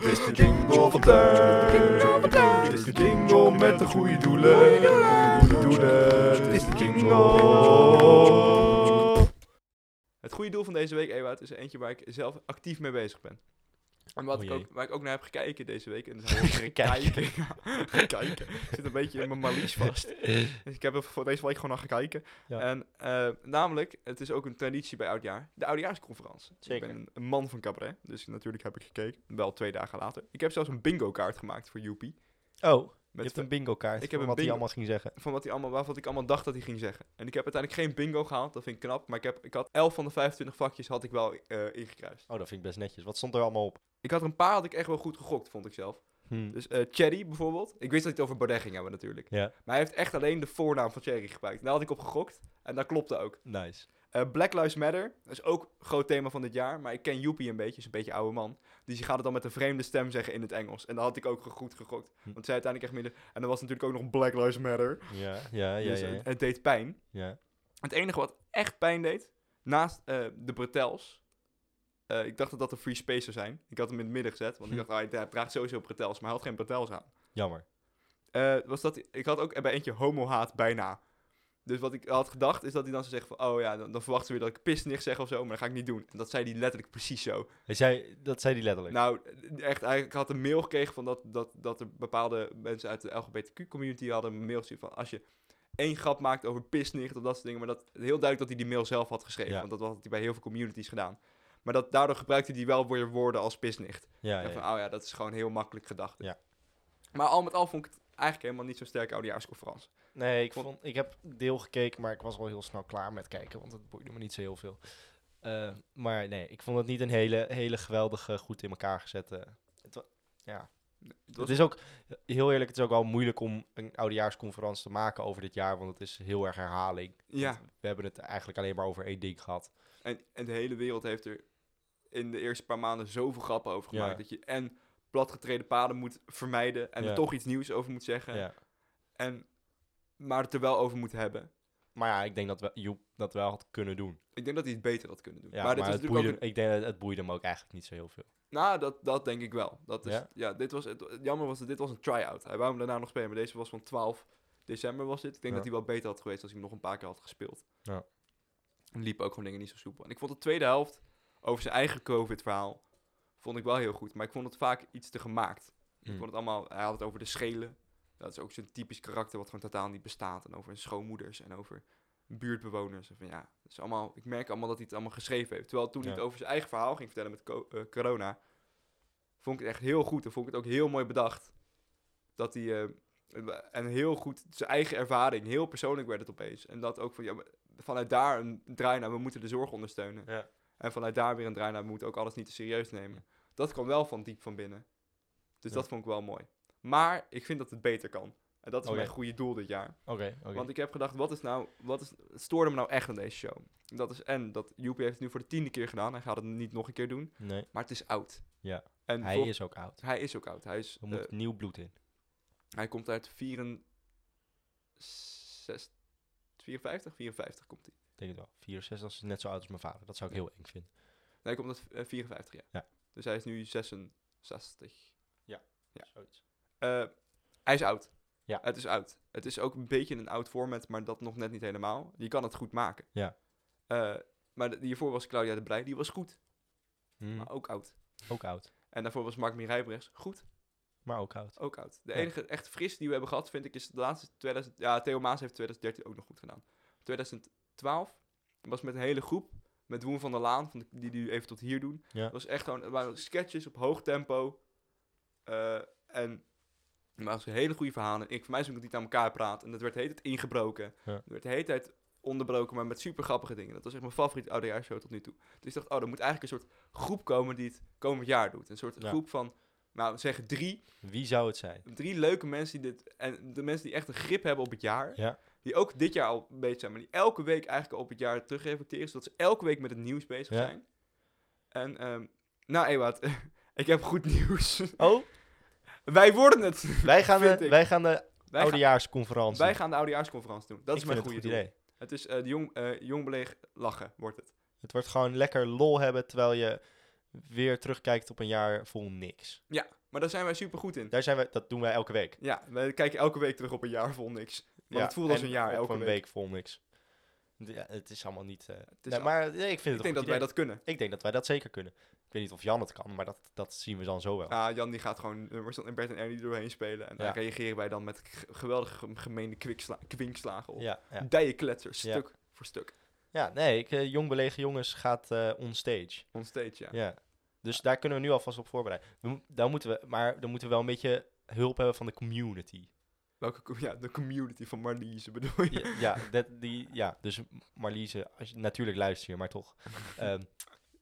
Speaker 4: Het is de jingle van Teun. Het is de jingle met de goede doelen. Goede doelen. Het is de jingle.
Speaker 1: Het goede doel van deze week, Ewout, is eentje waar ik zelf actief mee bezig ben. En wat
Speaker 2: Oh
Speaker 1: ik
Speaker 2: jee.
Speaker 1: ook, waar ik ook naar heb gekeken deze week. En dat
Speaker 2: [laughs]
Speaker 1: is heel
Speaker 2: Gekijken.
Speaker 1: [laughs] ja, gekijken. Ik zit een beetje in mijn malies vast.
Speaker 2: Oh,
Speaker 1: Dus ik heb er voor deze week gewoon naar gekeken.
Speaker 2: Ja.
Speaker 1: En eh, namelijk, het is ook een traditie bij Oudjaar. De Oudjaarsconferentie.
Speaker 2: Zeker.
Speaker 1: Ik ben een man van cabaret, dus natuurlijk heb ik gekeken. Wel twee dagen later. Ik heb zelfs een bingo kaart gemaakt voor Joepie.
Speaker 2: Oh, Je
Speaker 1: Met
Speaker 2: hebt een bingo kaart.
Speaker 1: Ik heb
Speaker 2: van
Speaker 1: een
Speaker 2: wat hij
Speaker 1: bingo-
Speaker 2: allemaal ging zeggen.
Speaker 1: van wat hij allemaal, waarvan ik allemaal dacht dat hij ging zeggen. En ik heb uiteindelijk geen bingo gehaald, dat vind ik knap. Maar ik, heb, ik had 11 van de 25 vakjes had ik wel eh, ingekruist.
Speaker 2: Oh, dat vind ik best netjes. Wat stond er allemaal op?
Speaker 1: Ik had er een paar had ik echt wel goed gegokt, vond ik zelf.
Speaker 2: Hm.
Speaker 1: Dus eh Thierry bijvoorbeeld. Ik wist dat hij het over Baudet ging hebben natuurlijk.
Speaker 2: Ja,
Speaker 1: Maar hij heeft echt alleen de voornaam van Thierry gebruikt. Daar had ik op gegokt en dat klopte ook.
Speaker 2: nice.
Speaker 1: Eh, Black Lives Matter, dat is ook een groot thema van dit jaar. Maar ik ken Joepie een beetje, is een beetje oude man. Dus die gaat het dan met een vreemde stem zeggen in het Engels. En dat had ik ook ge- goed gegokt.
Speaker 2: Hm.
Speaker 1: Want zij uiteindelijk echt minder... En er was natuurlijk ook nog Black Lives Matter.
Speaker 2: Ja, ja, ja,
Speaker 1: Dus
Speaker 2: ja. ja,
Speaker 1: Het, het deed pijn.
Speaker 2: ja.
Speaker 1: Het enige wat echt pijn deed, naast eh, de bretels... eh, ik dacht dat dat de free space zou zijn. Ik had hem in het midden gezet, want ik
Speaker 2: Hm.
Speaker 1: dacht, ah, hij dra- draagt sowieso bretels. Maar hij had geen bretels aan.
Speaker 2: Jammer.
Speaker 1: Eh, was dat, ik had ook bij eentje homo-haat bijna. Dus wat ik had gedacht, is dat hij dan zou zeggen van... Oh ja, dan, dan verwachten ze weer dat ik pisnicht zeg of zo, maar dat ga ik niet doen. En dat zei hij letterlijk precies zo.
Speaker 2: Hij zei, dat zei hij letterlijk.
Speaker 1: Nou, echt, hij- ik had een mail gekregen van dat, dat, dat er bepaalde mensen uit de LGBTQ-community hadden een mail gestuurd van... Als je één grap maakt over pisnicht of dat soort dingen... Maar dat, heel duidelijk dat hij die mail zelf had geschreven,
Speaker 2: Ja.
Speaker 1: want dat had hij bij heel veel communities gedaan. Maar dat, daardoor gebruikte hij wel weer woorden als pisnicht.
Speaker 2: ja, ja,
Speaker 1: En
Speaker 2: ja.
Speaker 1: van, oh ja, dat is gewoon heel makkelijk gedacht.
Speaker 2: Ja.
Speaker 1: Maar al met al vond ik het eigenlijk helemaal niet zo'n sterke oudejaarsconferentie.
Speaker 2: Nee, ik, vond, ik heb deel gekeken, maar ik was wel heel snel klaar met kijken, want het boeide me niet zo heel veel. Eh, maar nee, ik vond het niet een hele, hele geweldige, goed in elkaar gezette. Het, wa- ja.
Speaker 1: Het
Speaker 2: het
Speaker 1: was-
Speaker 2: is ook, heel eerlijk, het is ook wel moeilijk om een oudejaarsconferentie te maken over dit jaar, want het is heel erg herhaling.
Speaker 1: Ja,
Speaker 2: Want We hebben het eigenlijk alleen maar over één ding gehad.
Speaker 1: en, en de hele wereld heeft er in de eerste paar maanden zoveel grappen over
Speaker 2: Ja.
Speaker 1: gemaakt. Dat je en platgetreden paden moet vermijden en
Speaker 2: Ja.
Speaker 1: er toch iets nieuws over moet zeggen.
Speaker 2: Ja.
Speaker 1: En, maar het er wel over moet hebben.
Speaker 2: Maar ja, ik denk dat we, Joep dat wel had kunnen doen.
Speaker 1: Ik denk dat hij het beter had kunnen doen.
Speaker 2: Ja, maar
Speaker 1: maar dit was
Speaker 2: het,
Speaker 1: natuurlijk
Speaker 2: boeide,
Speaker 1: ook...
Speaker 2: ik denk, dat het boeide hem ook eigenlijk niet zo heel veel.
Speaker 1: een- nou, dat, dat denk ik wel. Dat is,
Speaker 2: Ja?
Speaker 1: ja? dit was, het, jammer was dat dit was een try-out. Hij wou hem daarna nog spelen, maar deze was van 12 december was dit. Ik denk
Speaker 2: Ja.
Speaker 1: dat hij wel beter had geweest als hij hem nog een paar keer had gespeeld.
Speaker 2: Ja.
Speaker 1: En liep ook gewoon dingen niet zo soepel. En ik vond de tweede helft over zijn eigen COVID-verhaal vond ik wel heel goed. Maar ik vond het vaak iets te gemaakt.
Speaker 2: Mm.
Speaker 1: Ik vond het allemaal, hij had het over de schelen. Dat is ook zo'n typisch karakter wat gewoon totaal niet bestaat. En over schoonmoeders en over buurtbewoners. En van ja, het is allemaal, ik merk allemaal dat hij het allemaal geschreven heeft. Terwijl toen hij
Speaker 2: Ja.
Speaker 1: het over zijn eigen verhaal ging vertellen met co- eh, corona, vond ik het echt heel goed. En vond ik het ook heel mooi bedacht. Dat hij, eh, en heel goed, zijn eigen ervaring, heel persoonlijk werd het opeens. En dat ook van, ja, maar vanuit daar een draai naar, we moeten de zorg ondersteunen.
Speaker 2: Ja.
Speaker 1: En vanuit daar weer een draai naar, we moeten ook alles niet te serieus nemen. Dat kwam wel van diep van binnen. Dus
Speaker 2: Ja.
Speaker 1: dat vond ik wel mooi. Maar ik vind dat het beter kan. En dat is
Speaker 2: Oké.
Speaker 1: mijn goede doel dit jaar.
Speaker 2: Oké, oké.
Speaker 1: Want ik heb gedacht, wat is nou, wat is, het stoorde me nou echt aan deze show? Dat is, en dat Joepie heeft het nu voor de tiende keer gedaan. Hij gaat het niet nog een keer doen.
Speaker 2: Nee,
Speaker 1: Maar het is oud.
Speaker 2: Ja.
Speaker 1: En
Speaker 2: hij
Speaker 1: vol-
Speaker 2: is ook oud.
Speaker 1: hij is ook oud. Hij, is,
Speaker 2: Er moet
Speaker 1: eh,
Speaker 2: nieuw bloed in.
Speaker 1: hij komt uit 64, 54, 54 komt hij.
Speaker 2: Ik denk het wel. 64 is net zo oud als mijn vader. Dat zou ik heel eng vinden.
Speaker 1: Nee, hij komt uit eh, 54, ja.
Speaker 2: Ja.
Speaker 1: Dus hij is nu 66. Ja.
Speaker 2: Zoiets.
Speaker 1: Eh, hij is oud.
Speaker 2: Ja.
Speaker 1: Het is oud. Het is ook een beetje een oud format, maar dat nog net niet helemaal. Je kan het goed maken.
Speaker 2: Ja.
Speaker 1: Eh, maar de- hiervoor was Claudia de Brij, die was goed,
Speaker 2: Hm.
Speaker 1: maar ook oud.
Speaker 2: Hmm. Ook oud.
Speaker 1: En daarvoor was Mark Mirijbrechts goed,
Speaker 2: Maar ook oud.
Speaker 1: ook oud. De
Speaker 2: Ja.
Speaker 1: enige echt fris die we hebben gehad, vind ik, is de laatste 2000... Ja, Theo Maas heeft 2013 ook nog goed gedaan. 2012 was met een hele groep, met Woen van der Laan, van de- die nu even tot hier doen.
Speaker 2: Ja.
Speaker 1: Het was echt gewoon, het waren sketches op hoog tempo. eh, en het waren hele goede verhalen. Ik, voor mij is het ook dat niet aan elkaar praat. En dat werd de hele tijd ingebroken.
Speaker 2: Ja.
Speaker 1: Het werd de hele tijd onderbroken, maar met super grappige dingen. Dat was echt mijn favoriete oudejaarsshow tot nu toe. Dus ik dacht, oh, er moet eigenlijk een soort groep komen die het komend jaar doet. Een soort
Speaker 2: Ja.
Speaker 1: groep van, nou, zeg drie
Speaker 2: Wie zou het zijn?
Speaker 1: drie leuke mensen die dit. En de mensen die echt een grip hebben op het jaar.
Speaker 2: Ja.
Speaker 1: Die ook dit jaar al bezig zijn, maar die elke week eigenlijk al op het jaar terugreflecteren. Zodat ze elke week met het nieuws bezig
Speaker 2: Ja.
Speaker 1: zijn. En, ehm, nou Ewout, [laughs] ik heb goed nieuws. [laughs]
Speaker 2: [laughs] Oh,
Speaker 1: wij worden het.
Speaker 2: wij gaan
Speaker 1: Vind
Speaker 2: de,
Speaker 1: ik.
Speaker 2: wij gaan de
Speaker 1: Wij, gaan,
Speaker 2: oudejaarsconferentie.
Speaker 1: wij gaan de oudejaarsconferentie doen. Dat
Speaker 2: Ik
Speaker 1: is
Speaker 2: vind
Speaker 1: mijn
Speaker 2: het
Speaker 1: goede
Speaker 2: een
Speaker 1: doel.
Speaker 2: goed idee.
Speaker 1: Het is eh, de jong, eh, jong beleeg lachen, wordt het.
Speaker 2: Het wordt gewoon lekker lol hebben terwijl je weer terugkijkt op een jaar vol niks.
Speaker 1: Maar daar zijn wij super goed in.
Speaker 2: Daar zijn we, dat doen wij elke week.
Speaker 1: Ja, wij kijken elke week terug op een jaar vol niks. Want
Speaker 2: Ja,
Speaker 1: het voelt als
Speaker 2: en
Speaker 1: een jaar
Speaker 2: op
Speaker 1: elke
Speaker 2: een
Speaker 1: week.
Speaker 2: week. vol niks. Ja, het is allemaal niet... eh,
Speaker 1: is
Speaker 2: nee,
Speaker 1: al-
Speaker 2: maar nee, ik vind het
Speaker 1: Ik denk dat wij dat kunnen.
Speaker 2: Ik denk dat wij dat zeker kunnen. Ik weet niet of Jan het kan, maar dat, dat zien we dan zo wel.
Speaker 1: Ah, Jan die gaat gewoon nummers en Bert en Ernie er doorheen spelen. En
Speaker 2: Ja.
Speaker 1: daar reageren wij dan met g- geweldige gem- gemeene kwiksla- kwinkslagen op.
Speaker 2: Ja, ja.
Speaker 1: Dijenkletser,
Speaker 2: Ja.
Speaker 1: stuk voor stuk.
Speaker 2: ja nee, ik, eh, Jong Belegen Jongens gaat eh on stage.
Speaker 1: Onstage, ja.
Speaker 2: Ja. Dus daar
Speaker 1: [laughs]
Speaker 2: kunnen we nu alvast op voorbereiden. We mo- dan moeten we, maar dan moeten we wel een beetje hulp hebben van de community.
Speaker 1: Welke, co- ja, de community van Marlies bedoel je?
Speaker 2: Ja, ja, dat, die, ja, dus Marliese, als je, natuurlijk luister je, maar
Speaker 1: [laughs]
Speaker 2: toch. Ehm,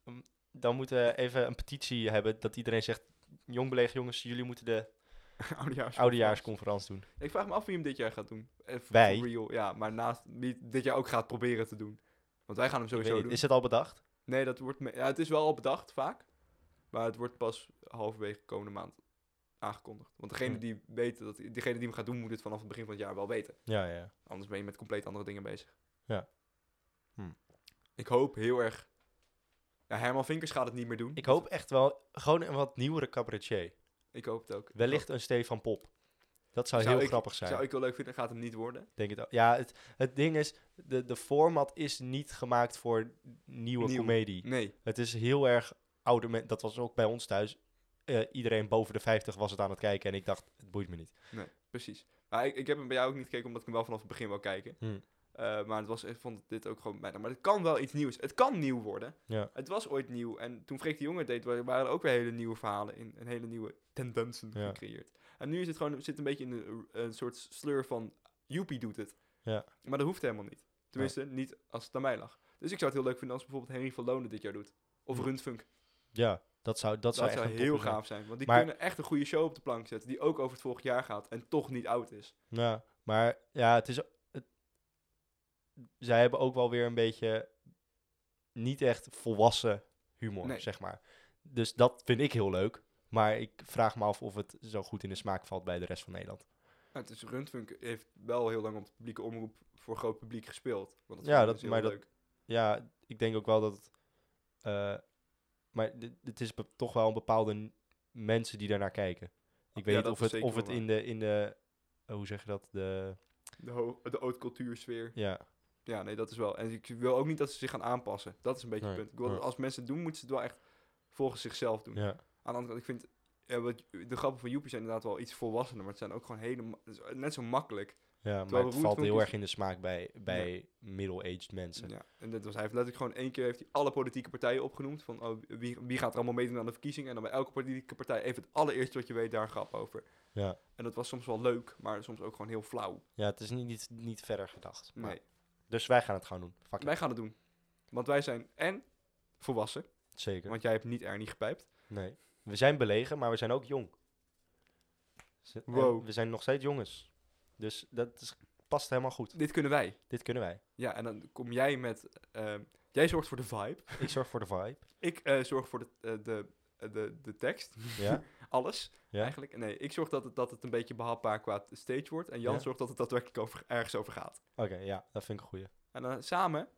Speaker 2: m, dan moeten we even een petitie hebben dat iedereen zegt... Jong belegd, jongens, jullie moeten de
Speaker 1: [laughs] Oudejaars.
Speaker 2: oudejaarsconferentie doen.
Speaker 1: Ik vraag me af wie hem dit jaar gaat doen. Eh, for-
Speaker 2: Wij?
Speaker 1: for real, ja. Maar naast wie het dit jaar ook gaat proberen te doen. Want wij gaan hem
Speaker 2: Ik weet
Speaker 1: sowieso
Speaker 2: niet,
Speaker 1: doen.
Speaker 2: Is het al bedacht?
Speaker 1: Nee, dat wordt... me- Ja, het is wel al bedacht, vaak. Maar het wordt pas halverwege komende maand aangekondigd. Want degene
Speaker 2: Hm.
Speaker 1: die weten dat... Degene die hem gaat doen, moet het vanaf het begin van het jaar wel weten.
Speaker 2: Ja, ja.
Speaker 1: Anders ben je met compleet andere dingen bezig.
Speaker 2: Ja. Hm.
Speaker 1: Ik hoop heel erg... Ja, Herman Vinkers gaat het niet meer doen.
Speaker 2: Ik hoop echt wel gewoon een wat nieuwere cabaretier.
Speaker 1: Ik hoop het ook.
Speaker 2: Wellicht een Stefan Pop. Dat zou, heel
Speaker 1: ik-
Speaker 2: grappig zijn.
Speaker 1: Zou ik wel leuk vinden, gaat hem niet worden.
Speaker 2: Ik Denk het ook. Ja, het, het ding is, de, de format is niet gemaakt voor nieuwe
Speaker 1: Nieuw.
Speaker 2: comedie.
Speaker 1: Nee.
Speaker 2: Het is heel erg ouder. men- Dat was ook bij ons thuis. Eh, iedereen boven de 50 was het aan het kijken. En ik dacht, het boeit me niet.
Speaker 1: Precies. Maar ik, ik heb hem bij jou ook niet gekeken, omdat ik hem wel vanaf het begin wil kijken.
Speaker 2: Hmm.
Speaker 1: Eh, maar het was, ik vond dit ook gewoon bijna... Maar het kan wel iets nieuws. Het kan nieuw worden.
Speaker 2: Ja.
Speaker 1: Het was ooit nieuw. En toen Freek de Jonge deed, wa- waren er ook weer hele nieuwe verhalen in. En hele nieuwe tendensen
Speaker 2: Ja.
Speaker 1: gecreëerd. En nu is het gewoon, zit een beetje in een, een soort sleur van... Joepie doet het.
Speaker 2: Ja.
Speaker 1: Maar dat hoeft helemaal niet. Tenminste, niet als het aan mij lag. Dus ik zou het heel leuk vinden als bijvoorbeeld Henry van Lonen dit jaar doet. Of
Speaker 2: Hmm.
Speaker 1: Rundfunk.
Speaker 2: Ja, dat zou, dat zou
Speaker 1: Dat
Speaker 2: echt
Speaker 1: zou
Speaker 2: een
Speaker 1: heel
Speaker 2: topper zijn.
Speaker 1: gaaf zijn. Want die
Speaker 2: Maar-
Speaker 1: kunnen echt een goede show op de plank zetten. Die ook over het vorig jaar gaat. En toch niet oud is.
Speaker 2: Ja, maar ja, het is. Het, zij hebben ook wel weer een beetje niet echt volwassen humor,
Speaker 1: Nee.
Speaker 2: zeg maar. Dus dat vind ik heel leuk. Maar ik vraag me af of het zo goed in de smaak valt bij de rest van Nederland.
Speaker 1: Nou, het is Rundfunk heeft wel heel lang op de publieke omroep voor groot publiek gespeeld. Want dat
Speaker 2: Ja,
Speaker 1: vond ik
Speaker 2: dat-
Speaker 1: dus heel
Speaker 2: maar dat-
Speaker 1: leuk.
Speaker 2: Ja, ik denk ook wel dat het. eh, maar dit- het is be- toch wel een bepaalde n- mensen die daarnaar kijken. Ik weet
Speaker 1: Ja,
Speaker 2: niet
Speaker 1: dat
Speaker 2: of
Speaker 1: is
Speaker 2: het,
Speaker 1: zeker
Speaker 2: of het
Speaker 1: wel
Speaker 2: in de, in de. eh, Hoe zeg je dat? De,
Speaker 1: De, ho- de haute cultuursfeer.
Speaker 2: ja,
Speaker 1: Ja, nee, dat is wel. En ik wil ook niet dat ze zich gaan aanpassen. Dat is een beetje
Speaker 2: Nee,
Speaker 1: het punt. Ik wil dat
Speaker 2: nee.
Speaker 1: als mensen het doen, moeten ze het wel echt volgens zichzelf doen.
Speaker 2: ja.
Speaker 1: Aan de andere kant, ik vind eh, wat, de grappen van Joepie zijn inderdaad wel iets volwassener. Maar het zijn ook gewoon helemaal... Net zo makkelijk.
Speaker 2: ja maar
Speaker 1: Terwijl
Speaker 2: het
Speaker 1: Roet
Speaker 2: valt
Speaker 1: van
Speaker 2: heel
Speaker 1: Kies-
Speaker 2: erg in de smaak bij, bij middle-aged mensen.
Speaker 1: Ja, en dat was, hij heeft letterlijk gewoon één keer heeft hij alle politieke partijen opgenoemd. Van oh, wie, wie gaat er allemaal meedoen aan de verkiezingen. En dan bij elke politieke partij even het allereerste wat je weet daar een grap over.
Speaker 2: Ja.
Speaker 1: En dat was soms wel leuk, maar soms ook gewoon heel flauw.
Speaker 2: Ja, het is niet, niet, niet verder gedacht. maar-
Speaker 1: Nee,
Speaker 2: Dus wij gaan het gewoon doen. Fuck it.
Speaker 1: wij gaan het doen. Want wij zijn en volwassen,
Speaker 2: Zeker.
Speaker 1: want jij hebt niet Ernie gepijpt.
Speaker 2: Nee. We zijn belegen, maar we zijn ook jong. Z- en
Speaker 1: Wow.
Speaker 2: We zijn nog steeds jongens. Dus dat is, past helemaal goed.
Speaker 1: Dit kunnen wij.
Speaker 2: Dit kunnen wij.
Speaker 1: Ja, en dan kom jij met... ehm, jij zorgt voor de vibe.
Speaker 2: Ik zorg voor de vibe.
Speaker 1: Ik eh, zorg voor de, eh, de, eh, de, de tekst. [laughs]
Speaker 2: Ja?
Speaker 1: Alles,
Speaker 2: Ja?
Speaker 1: eigenlijk. Nee, ik zorg dat het, dat het een beetje behapbaar qua stage wordt. En Jan
Speaker 2: Ja.
Speaker 1: zorgt dat het daadwerkelijk over, ergens over gaat.
Speaker 2: Oké, ja. Dat vind ik een goeie.
Speaker 1: En dan samen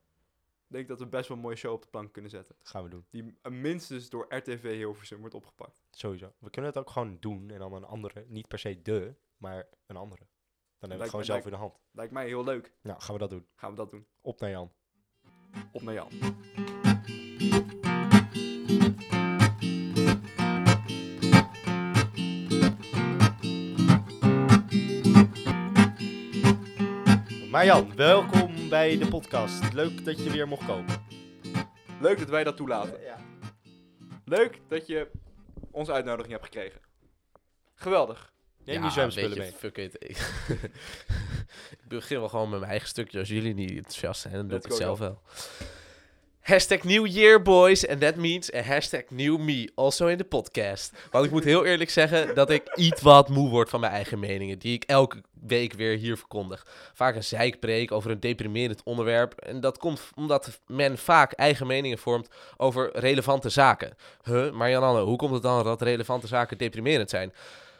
Speaker 1: denk ik dat we best wel een mooie show op de plank kunnen zetten.
Speaker 2: Dat gaan we doen.
Speaker 1: Die m- minstens door RTV Hilversum wordt opgepakt.
Speaker 2: Sowieso. We kunnen het ook gewoon doen en dan een andere. Niet per se de, maar een andere. Dan hebben we
Speaker 1: Lijkt-
Speaker 2: het gewoon zelf
Speaker 1: lijkt-
Speaker 2: in de hand.
Speaker 1: Lijkt mij heel leuk.
Speaker 2: Nou, gaan we dat doen.
Speaker 1: Gaan we dat doen.
Speaker 2: Op naar Jan.
Speaker 1: Op naar Jan.
Speaker 2: Maar Jan, welkom bij de podcast. Leuk dat je weer mocht komen.
Speaker 1: Leuk dat wij dat toelaten.
Speaker 2: Ja.
Speaker 1: Leuk dat je onze uitnodiging hebt gekregen. Geweldig.
Speaker 2: Neem je zwemspullen
Speaker 6: weet je,
Speaker 2: mee.
Speaker 6: Fuck it. Ik, [laughs] ik begin wel gewoon met mijn eigen stukje. Als jullie niet enthousiast zijn, dan doe ik
Speaker 1: Let's
Speaker 6: het
Speaker 1: go,
Speaker 6: zelf wel. Hashtag new year boys and that means a hashtag new me, also in de podcast. Want ik moet heel eerlijk zeggen dat ik iets wat moe word van mijn eigen meningen, die ik elke week weer hier verkondig. Vaak een zeikpreek over een deprimerend onderwerp en dat komt omdat men vaak eigen meningen vormt over relevante zaken. Huh, maar Jananne, hoe komt het dan dat relevante zaken deprimerend zijn?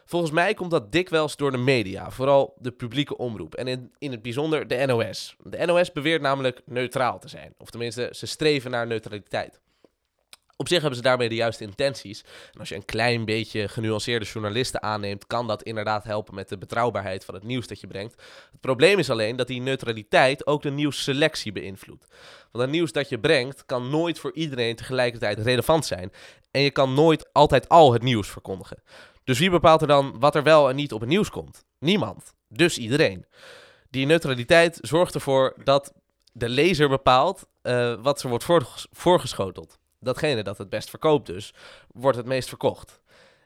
Speaker 6: Volgens mij komt dat dikwijls door de media, vooral de publieke omroep en in, in het bijzonder de NOS. De NOS beweert namelijk neutraal te zijn, of tenminste, ze streven naar neutraliteit. Op zich hebben ze daarmee de juiste intenties. En als je een klein beetje genuanceerde journalisten aanneemt, kan dat inderdaad helpen met de betrouwbaarheid van het nieuws dat je brengt. Het probleem is alleen dat die neutraliteit ook de nieuwsselectie beïnvloedt. Want het nieuws dat je brengt kan nooit voor iedereen tegelijkertijd relevant zijn. En je kan nooit altijd al het nieuws verkondigen. Dus wie bepaalt er dan wat er wel en niet op het nieuws komt? Niemand. Dus iedereen. Die neutraliteit zorgt ervoor dat de lezer bepaalt eh, wat ze wordt voorges- voorgeschoteld. Datgene dat het best verkoopt dus, wordt het meest verkocht.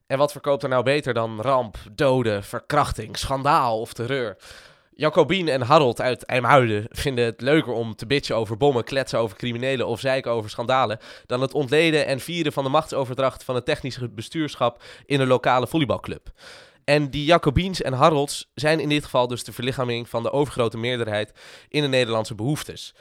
Speaker 6: En wat verkoopt er nou beter dan ramp, doden, verkrachting, schandaal of terreur? Jacobien en Harold uit IJmuiden vinden het leuker om te bitchen over bommen, kletsen over criminelen of zeiken over schandalen dan het ontleden en vieren van de machtsoverdracht van het technische bestuurschap in een lokale volleybalclub. En die Jacobiens en Harolds zijn in dit geval dus de verlichaming van de overgrote meerderheid in de Nederlandse behoeftes.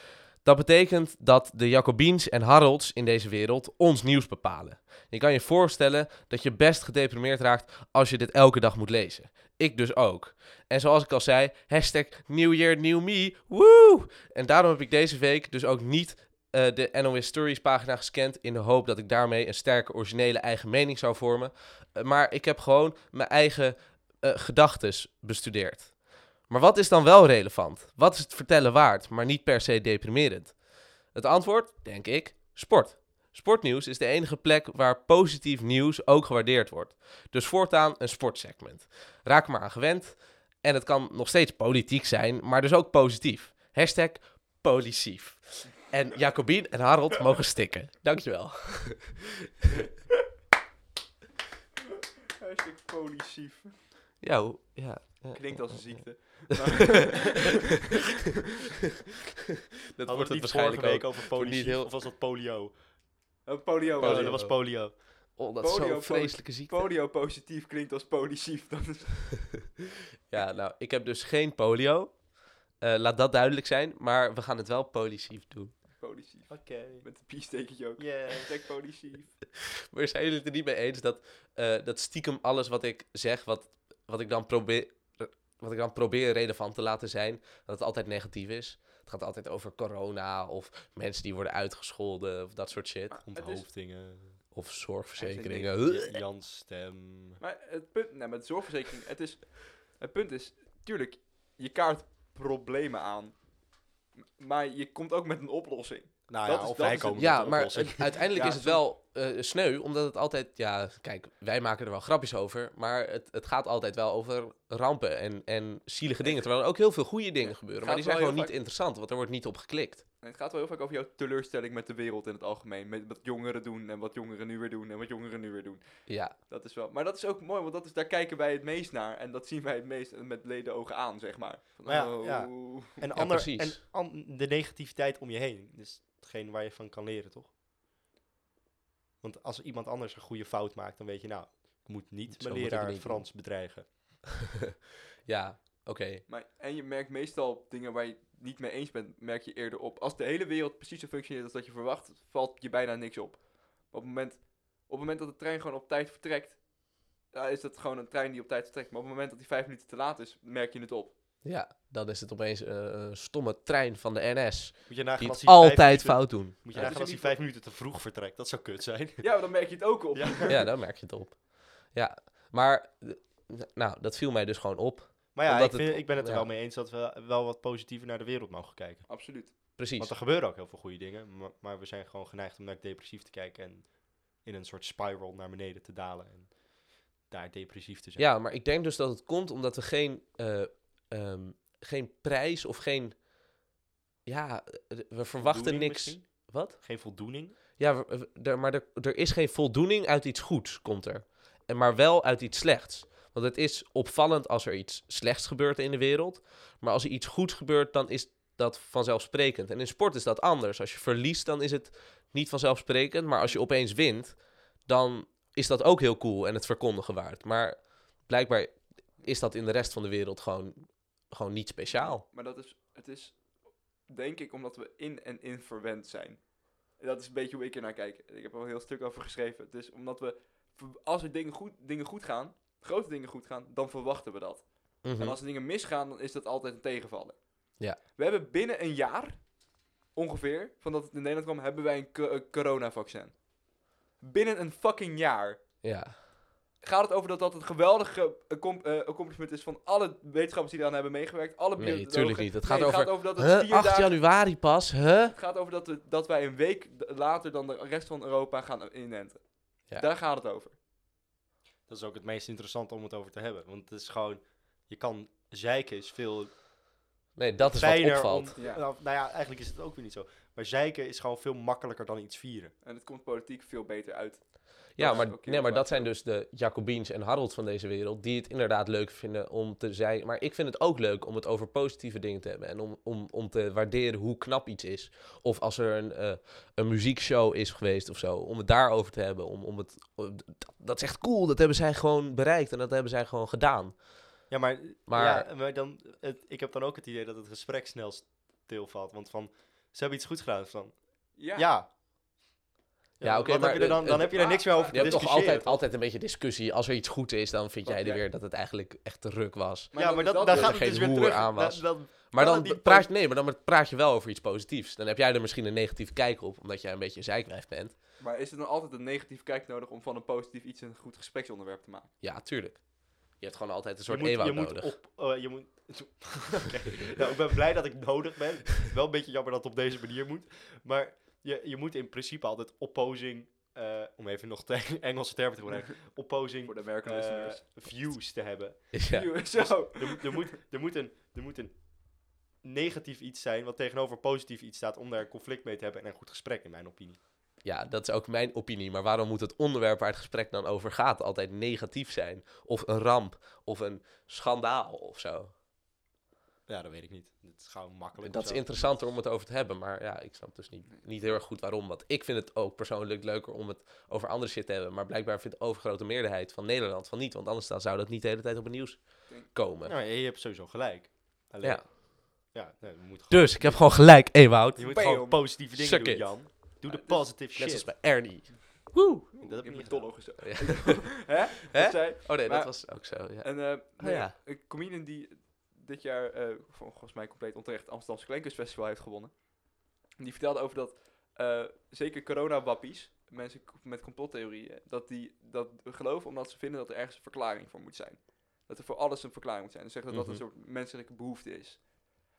Speaker 6: Dat betekent dat de Jacobiens en Harolds in deze wereld ons nieuws bepalen. Je kan je voorstellen dat je best gedeprimeerd raakt als je dit elke dag moet lezen. Ik dus ook. En zoals ik al zei, hashtag New Year, New Me, woe! En daarom heb ik deze week dus ook niet eh, de NOS Stories pagina gescand... in de hoop dat ik daarmee een sterke, originele eigen mening zou vormen. Eh, maar ik heb gewoon mijn eigen eh gedachtes bestudeerd. Maar wat is dan wel relevant? Wat is het vertellen waard, maar niet per se deprimerend? Het antwoord, denk ik, sport. Sportnieuws is de enige plek waar positief nieuws ook gewaardeerd wordt. Dus voortaan een sportsegment. Raak er maar aan gewend. En het kan nog steeds politiek zijn, maar dus ook positief. Hashtag policief. En Jacobien en Harold mogen stikken. Dankjewel.
Speaker 1: Hartstikke policief.
Speaker 6: Ja, hoe- ja.
Speaker 1: Klinkt als een ziekte.
Speaker 6: Dat
Speaker 7: Hadden
Speaker 6: wordt
Speaker 7: we
Speaker 6: het
Speaker 7: het niet vorige
Speaker 6: waarschijnlijk ook.
Speaker 7: week over
Speaker 6: Wordt niet
Speaker 7: polio?
Speaker 6: heel-
Speaker 7: Of was dat polio?
Speaker 1: Ook polio.
Speaker 7: Oh,
Speaker 6: Polio.
Speaker 7: dat was polio.
Speaker 6: Oh, dat is
Speaker 1: Polio,
Speaker 6: zo'n
Speaker 1: polio.
Speaker 6: vreselijke ziekte.
Speaker 1: Polio positief [laughs] klinkt als policief. Dat is...
Speaker 6: Ja, nou, ik heb dus geen polio. Eh, laat dat duidelijk zijn. Maar we gaan het wel policief doen. [laughs]
Speaker 1: Policief.
Speaker 7: Oké.
Speaker 1: Met een piestekentje ook.
Speaker 7: Yeah.
Speaker 1: Hashtag policief.
Speaker 6: Maar zijn jullie het er niet mee eens dat, eh, dat stiekem alles wat ik zeg, wat, wat, ik dan probeer, eh, wat ik dan probeer relevant te laten zijn, dat het altijd negatief is? Het gaat altijd over corona of mensen die worden uitgescholden of dat soort shit.
Speaker 2: Onthoofdingen,
Speaker 6: Of
Speaker 1: Hij
Speaker 6: zorgverzekeringen.
Speaker 2: Jans stem.
Speaker 1: Maar het punt, nee, met zorgverzekering, het, is, het punt is, tuurlijk, je kaart problemen aan. M- Maar je komt ook met een oplossing.
Speaker 2: Nou
Speaker 1: Dat
Speaker 2: ja,
Speaker 1: is-
Speaker 2: of
Speaker 1: dat
Speaker 2: wij
Speaker 1: is het-
Speaker 2: komen met
Speaker 6: Ja,
Speaker 2: een
Speaker 6: maar
Speaker 2: oplossing.
Speaker 6: het- uiteindelijk
Speaker 1: Ja,
Speaker 6: is het wel eh, sneu, omdat het altijd... Ja, kijk, wij maken er wel grapjes over, maar het, het gaat altijd wel over rampen en, en zielige dingen. Terwijl er ook heel veel goede dingen gebeuren, maar
Speaker 1: gaat
Speaker 6: die zijn
Speaker 1: wel heel
Speaker 6: gewoon niet
Speaker 1: vaak-
Speaker 6: interessant, want er wordt niet op geklikt.
Speaker 1: En het gaat wel heel vaak over jouw teleurstelling met de wereld in het algemeen. Met wat jongeren doen en wat jongeren nu weer doen en wat jongeren nu weer doen.
Speaker 6: Ja,
Speaker 1: Dat is wel, maar dat is ook mooi, want dat is, daar kijken wij het meest naar. En dat zien wij het meest met leden ogen aan, zeg maar. Van,
Speaker 2: Maar ja,
Speaker 1: oh,
Speaker 2: ja. En,
Speaker 6: Ja,
Speaker 2: ander,
Speaker 6: precies.
Speaker 2: en an- de negativiteit om je heen. Dus hetgeen waar je van kan leren, toch? Want als iemand anders een goede fout maakt, dan weet je, nou, ik moet niet
Speaker 6: Zo
Speaker 2: mijn
Speaker 6: moet ik het
Speaker 2: leraar
Speaker 6: niet
Speaker 2: Frans bedreigen.
Speaker 6: [laughs] ja, oké.
Speaker 1: Maar, en je merkt meestal dingen waar je het niet mee eens bent, merk je eerder op. Als de hele wereld precies zo functioneert als dat je verwacht, valt je bijna niks op. Op het moment, op het moment dat de trein gewoon op tijd vertrekt, ja, is dat gewoon een trein die op tijd vertrekt. Maar op het moment dat die vijf minuten te laat is, merk je het op.
Speaker 6: Ja, dan is het opeens eh, een stomme trein van de NS,
Speaker 2: Moet je nagaan
Speaker 6: die
Speaker 2: als
Speaker 6: het
Speaker 2: hij vijf
Speaker 6: altijd
Speaker 2: minuten-
Speaker 6: fout doen.
Speaker 2: Moet je
Speaker 1: Ja,
Speaker 2: nagaan
Speaker 1: dus
Speaker 2: als
Speaker 1: je
Speaker 2: hij vijf minuten te vroeg vertrekt. Dat zou kut zijn.
Speaker 1: Ja, maar dan merk je het ook op.
Speaker 6: Ja, [laughs] dan merk je het op. Ja, maar... eh, Nou, dat viel mij dus gewoon op.
Speaker 2: Maar ja,
Speaker 6: Omdat
Speaker 2: ik, vind-
Speaker 6: het-
Speaker 2: ik ben het er
Speaker 6: ja.
Speaker 2: wel mee eens dat we wel wat positiever naar de wereld mogen kijken.
Speaker 1: Absoluut.
Speaker 6: Precies.
Speaker 2: Want er gebeuren ook heel veel goede dingen. Maar, maar we zijn gewoon geneigd om naar depressief te kijken en in een soort spiral naar beneden te dalen. En daar depressief te zijn.
Speaker 6: Ja, maar ik denk dus dat het komt omdat we geen, eh, ehm, geen prijs of geen. Ja, eh, we verwachten
Speaker 2: Voldoening
Speaker 6: niks.
Speaker 2: misschien?
Speaker 6: Wat?
Speaker 2: Geen voldoening.
Speaker 6: Ja, we- we- er- maar er, er is geen voldoening uit iets goeds, komt er. En maar wel uit iets slechts. Want het is opvallend als er iets slechts gebeurt in de wereld. Maar als er iets goeds gebeurt, dan is dat vanzelfsprekend. En in sport is dat anders. Als je verliest, dan is het niet vanzelfsprekend. Maar als je opeens wint, dan is dat ook heel cool en het verkondigen waard. Maar blijkbaar is dat in de rest van de wereld gewoon, gewoon niet speciaal.
Speaker 1: Maar dat is, het is, denk ik, omdat we in en in verwend zijn. En Dat is een beetje hoe ik er naar kijk. Ik heb er al een heel stuk over geschreven. Het is omdat we, ver- als er dingen goed, dingen goed gaan, grote dingen goed gaan, dan verwachten we dat. En
Speaker 6: Mhm.
Speaker 1: als er dingen misgaan, dan is dat altijd een tegenvaller.
Speaker 6: Ja.
Speaker 1: We hebben binnen een jaar, ongeveer, van dat het in Nederland kwam, hebben wij een co- eh, coronavaccin. Binnen een fucking jaar.
Speaker 6: Ja,
Speaker 1: Gaat het over dat dat een geweldige accom- eh, accomplishment is van alle wetenschappers die eraan hebben meegewerkt? Alle
Speaker 6: nee,
Speaker 1: biologen.
Speaker 6: natuurlijk niet. Het gaat
Speaker 1: Nee, het
Speaker 6: over.
Speaker 1: gaat over dat het
Speaker 6: Huh?
Speaker 1: vier
Speaker 6: 8
Speaker 1: dagen-
Speaker 6: januari pas, huh?
Speaker 1: het gaat over dat, we, dat wij een week d- later dan de rest van Europa gaan inenten.
Speaker 6: Ja.
Speaker 1: Daar gaat het over.
Speaker 2: Dat is ook het meest interessant om het over te hebben. Want het is gewoon, je kan zeiken is veel
Speaker 6: Nee, dat is wat
Speaker 2: fijner
Speaker 6: opvalt.
Speaker 2: om-
Speaker 1: Ja.
Speaker 2: nou, nou ja, eigenlijk is het ook weer niet zo. Maar zeiken is gewoon veel makkelijker dan iets vieren.
Speaker 1: En het komt politiek veel beter uit.
Speaker 6: Ja,
Speaker 2: Dat is
Speaker 6: maar,
Speaker 2: ook heel
Speaker 6: nee, maar
Speaker 2: waar.
Speaker 6: dat zijn dus de Jacobiens en Harolds van deze wereld die het inderdaad leuk vinden om te zijn. Maar ik vind het ook leuk om het over positieve dingen te hebben en om, om, om te waarderen hoe knap iets is. Of als er een, eh, een muziekshow is geweest of zo, om het daarover te hebben. Om, om het, om- dat, dat is echt cool, dat hebben zij gewoon bereikt en dat hebben zij gewoon gedaan.
Speaker 2: Ja, maar,
Speaker 6: Maar-
Speaker 2: ja, maar dan, het, ik heb dan ook het idee dat het gesprek snel stilvalt. Want van, ze hebben iets goeds gedaan. Van, ja. Ja,
Speaker 6: Ja, oké,
Speaker 2: wat
Speaker 6: maar
Speaker 2: heb je er dan,
Speaker 6: het-
Speaker 2: dan heb je er niks meer over te
Speaker 6: Je hebt toch
Speaker 2: discussiëren.
Speaker 6: altijd, altijd een beetje discussie. Als er iets goed is, dan vind
Speaker 2: Want
Speaker 6: jij er
Speaker 2: jij-
Speaker 6: weer dat het eigenlijk echt te ruk was.
Speaker 2: ja, maar dat,
Speaker 6: dat
Speaker 2: daar
Speaker 6: er
Speaker 2: gaat het
Speaker 6: geen
Speaker 2: dus weer
Speaker 6: hoer
Speaker 2: terug.
Speaker 6: aan was.
Speaker 2: Dat- dat-
Speaker 6: Maar
Speaker 2: Kan
Speaker 6: dan
Speaker 2: het niet
Speaker 6: praat, je, nee, maar dan praat je wel over iets positiefs. Dan heb jij er misschien een negatieve kijk op, omdat jij een beetje een zeikwijf bent.
Speaker 1: Maar is er dan altijd een negatief kijk nodig om van een positief iets een goed gespreksonderwerp te maken?
Speaker 6: Ja, tuurlijk. Je hebt gewoon altijd een
Speaker 2: je
Speaker 6: soort
Speaker 2: moet, je
Speaker 6: eeuwoud
Speaker 2: moet
Speaker 6: nodig.
Speaker 2: op... eh, je moet, [laughs] Oké. nou, ik ben blij dat ik nodig ben. wel een beetje jammer dat het op deze manier moet. Maar je, je moet in principe altijd opposing... eh, om even nog de Engelse termen te [laughs] gebruiken. Opposing
Speaker 1: Voor de American
Speaker 2: eh,
Speaker 1: listeners.
Speaker 2: views te hebben.
Speaker 6: [laughs] Ja.
Speaker 1: Zo.
Speaker 2: Er, moet- er, moet, er, moet een, er moet een negatief iets zijn wat tegenover positief iets staat om daar een conflict mee te hebben en een goed gesprek, in mijn opinie.
Speaker 6: ja, dat is ook mijn opinie. Maar waarom moet het onderwerp waar het gesprek dan over gaat altijd negatief zijn? Of een ramp, of een schandaal of zo.
Speaker 2: Ja, dat weet ik niet. Dat is gewoon makkelijk.
Speaker 6: Dat is interessanter om het over te hebben. Maar ja, ik snap dus niet, niet heel erg goed waarom. Want ik vind het ook persoonlijk leuker om het over andere shit te hebben. Maar blijkbaar vindt de overgrote meerderheid van Nederland van niet. Want anders dan zou dat niet de hele tijd op het nieuws komen.
Speaker 2: Nou, je hebt sowieso gelijk. Alleen,
Speaker 6: Ja.
Speaker 2: ja. nee, we moeten gewoon,
Speaker 6: Dus ik heb gewoon gelijk, Ewout.
Speaker 2: je moet
Speaker 1: Bam.
Speaker 2: gewoon positieve dingen
Speaker 6: Suck
Speaker 2: doen,
Speaker 6: it.
Speaker 2: Jan. Doe de positive
Speaker 6: Net als
Speaker 2: shit. [laughs]
Speaker 6: bij Ernie.
Speaker 2: Dat
Speaker 1: Dat
Speaker 2: heb
Speaker 1: heb
Speaker 2: ik
Speaker 1: ik
Speaker 2: niet
Speaker 1: dollo gezegd.
Speaker 6: Ja.
Speaker 1: [laughs] Hè?
Speaker 6: Hè?
Speaker 1: Dat zei
Speaker 6: Oh nee, dat
Speaker 1: Maar-
Speaker 6: was ook zo. Ja.
Speaker 1: En eh, nee,
Speaker 6: ja.
Speaker 1: een comedian die dit jaar eh, vol- volgens mij compleet onterecht het Amsterdamse Kleinkunstfestival heeft gewonnen. Die vertelde over dat eh, zeker coronawappies, mensen k- met complottheorieën, dat die dat geloven omdat ze vinden dat er ergens een verklaring voor moet zijn. Dat er voor alles een verklaring moet zijn. Dus zeggen dat dat een soort menselijke behoefte is.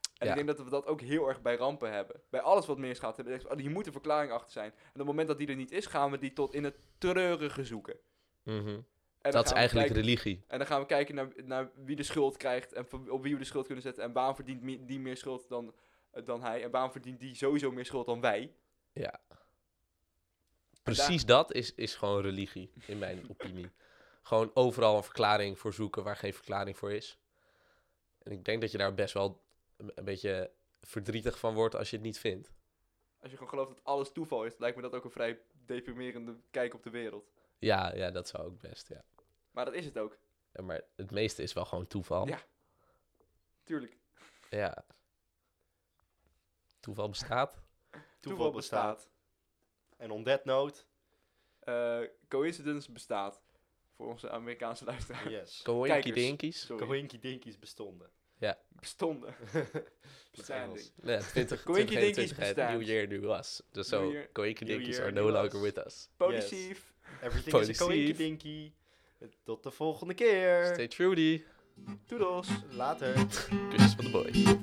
Speaker 1: En
Speaker 6: Mhm. Ja.
Speaker 1: ik denk dat we dat ook heel erg bij rampen hebben. Bij alles wat misgaat, hebben we echt, oh, hier moet een verklaring achter zijn. En op het moment dat die er niet is, gaan we die tot in het treurige zoeken. En
Speaker 6: Mhm.
Speaker 1: dan
Speaker 6: Dat is
Speaker 1: gaan we
Speaker 6: eigenlijk
Speaker 1: kijken-
Speaker 6: religie.
Speaker 1: en dan gaan we kijken naar, naar wie de schuld krijgt en van- op wie we de schuld kunnen zetten. En waarom verdient mi- die meer schuld dan, eh, dan hij? En waarom verdient die sowieso meer schuld dan wij?
Speaker 6: Precies dat is, is gewoon religie, in mijn opinie. Gewoon overal een verklaring voor zoeken waar geen verklaring voor is. En ik denk dat je daar best wel een een beetje verdrietig van wordt als je het niet vindt.
Speaker 1: Als je gewoon gelooft dat alles toeval is, lijkt me dat ook een vrij deprimerende kijk op de wereld.
Speaker 6: Ja, ja dat zou ook best, ja.
Speaker 1: Maar dat is het ook,
Speaker 6: Ja, Maar het meeste is wel gewoon toeval.
Speaker 1: Ja. tuurlijk.
Speaker 6: Ja. Toeval bestaat.
Speaker 2: Toeval bestaat. En on that note,
Speaker 1: Eh, coincidence bestaat. Voor onze Amerikaanse
Speaker 2: [laughs]
Speaker 1: luisteraars.
Speaker 2: yes.
Speaker 6: Koinkie
Speaker 1: Kijkers.
Speaker 6: dinkies.
Speaker 1: Sorry,
Speaker 2: Coinky Dinkies bestonden. [laughs]
Speaker 1: bestonden.
Speaker 2: Dat Engels.
Speaker 1: [laughs]
Speaker 6: Ja,
Speaker 1: Koinkie
Speaker 6: 20, 20,
Speaker 1: dinkies
Speaker 6: 21,
Speaker 1: bestaat.
Speaker 6: New Year, new us. Dus
Speaker 1: New
Speaker 6: zo,
Speaker 1: year-
Speaker 6: koinkie
Speaker 2: New
Speaker 6: dinkies
Speaker 2: year,
Speaker 6: are no
Speaker 2: new
Speaker 6: longer
Speaker 2: us.
Speaker 6: with us.
Speaker 1: Positief.
Speaker 2: Everything is
Speaker 6: Positief.
Speaker 2: a coinky dinky. Tot de volgende keer.
Speaker 6: Stay trudy.
Speaker 1: Toedels.
Speaker 2: Later.
Speaker 6: Kusjes van de boys.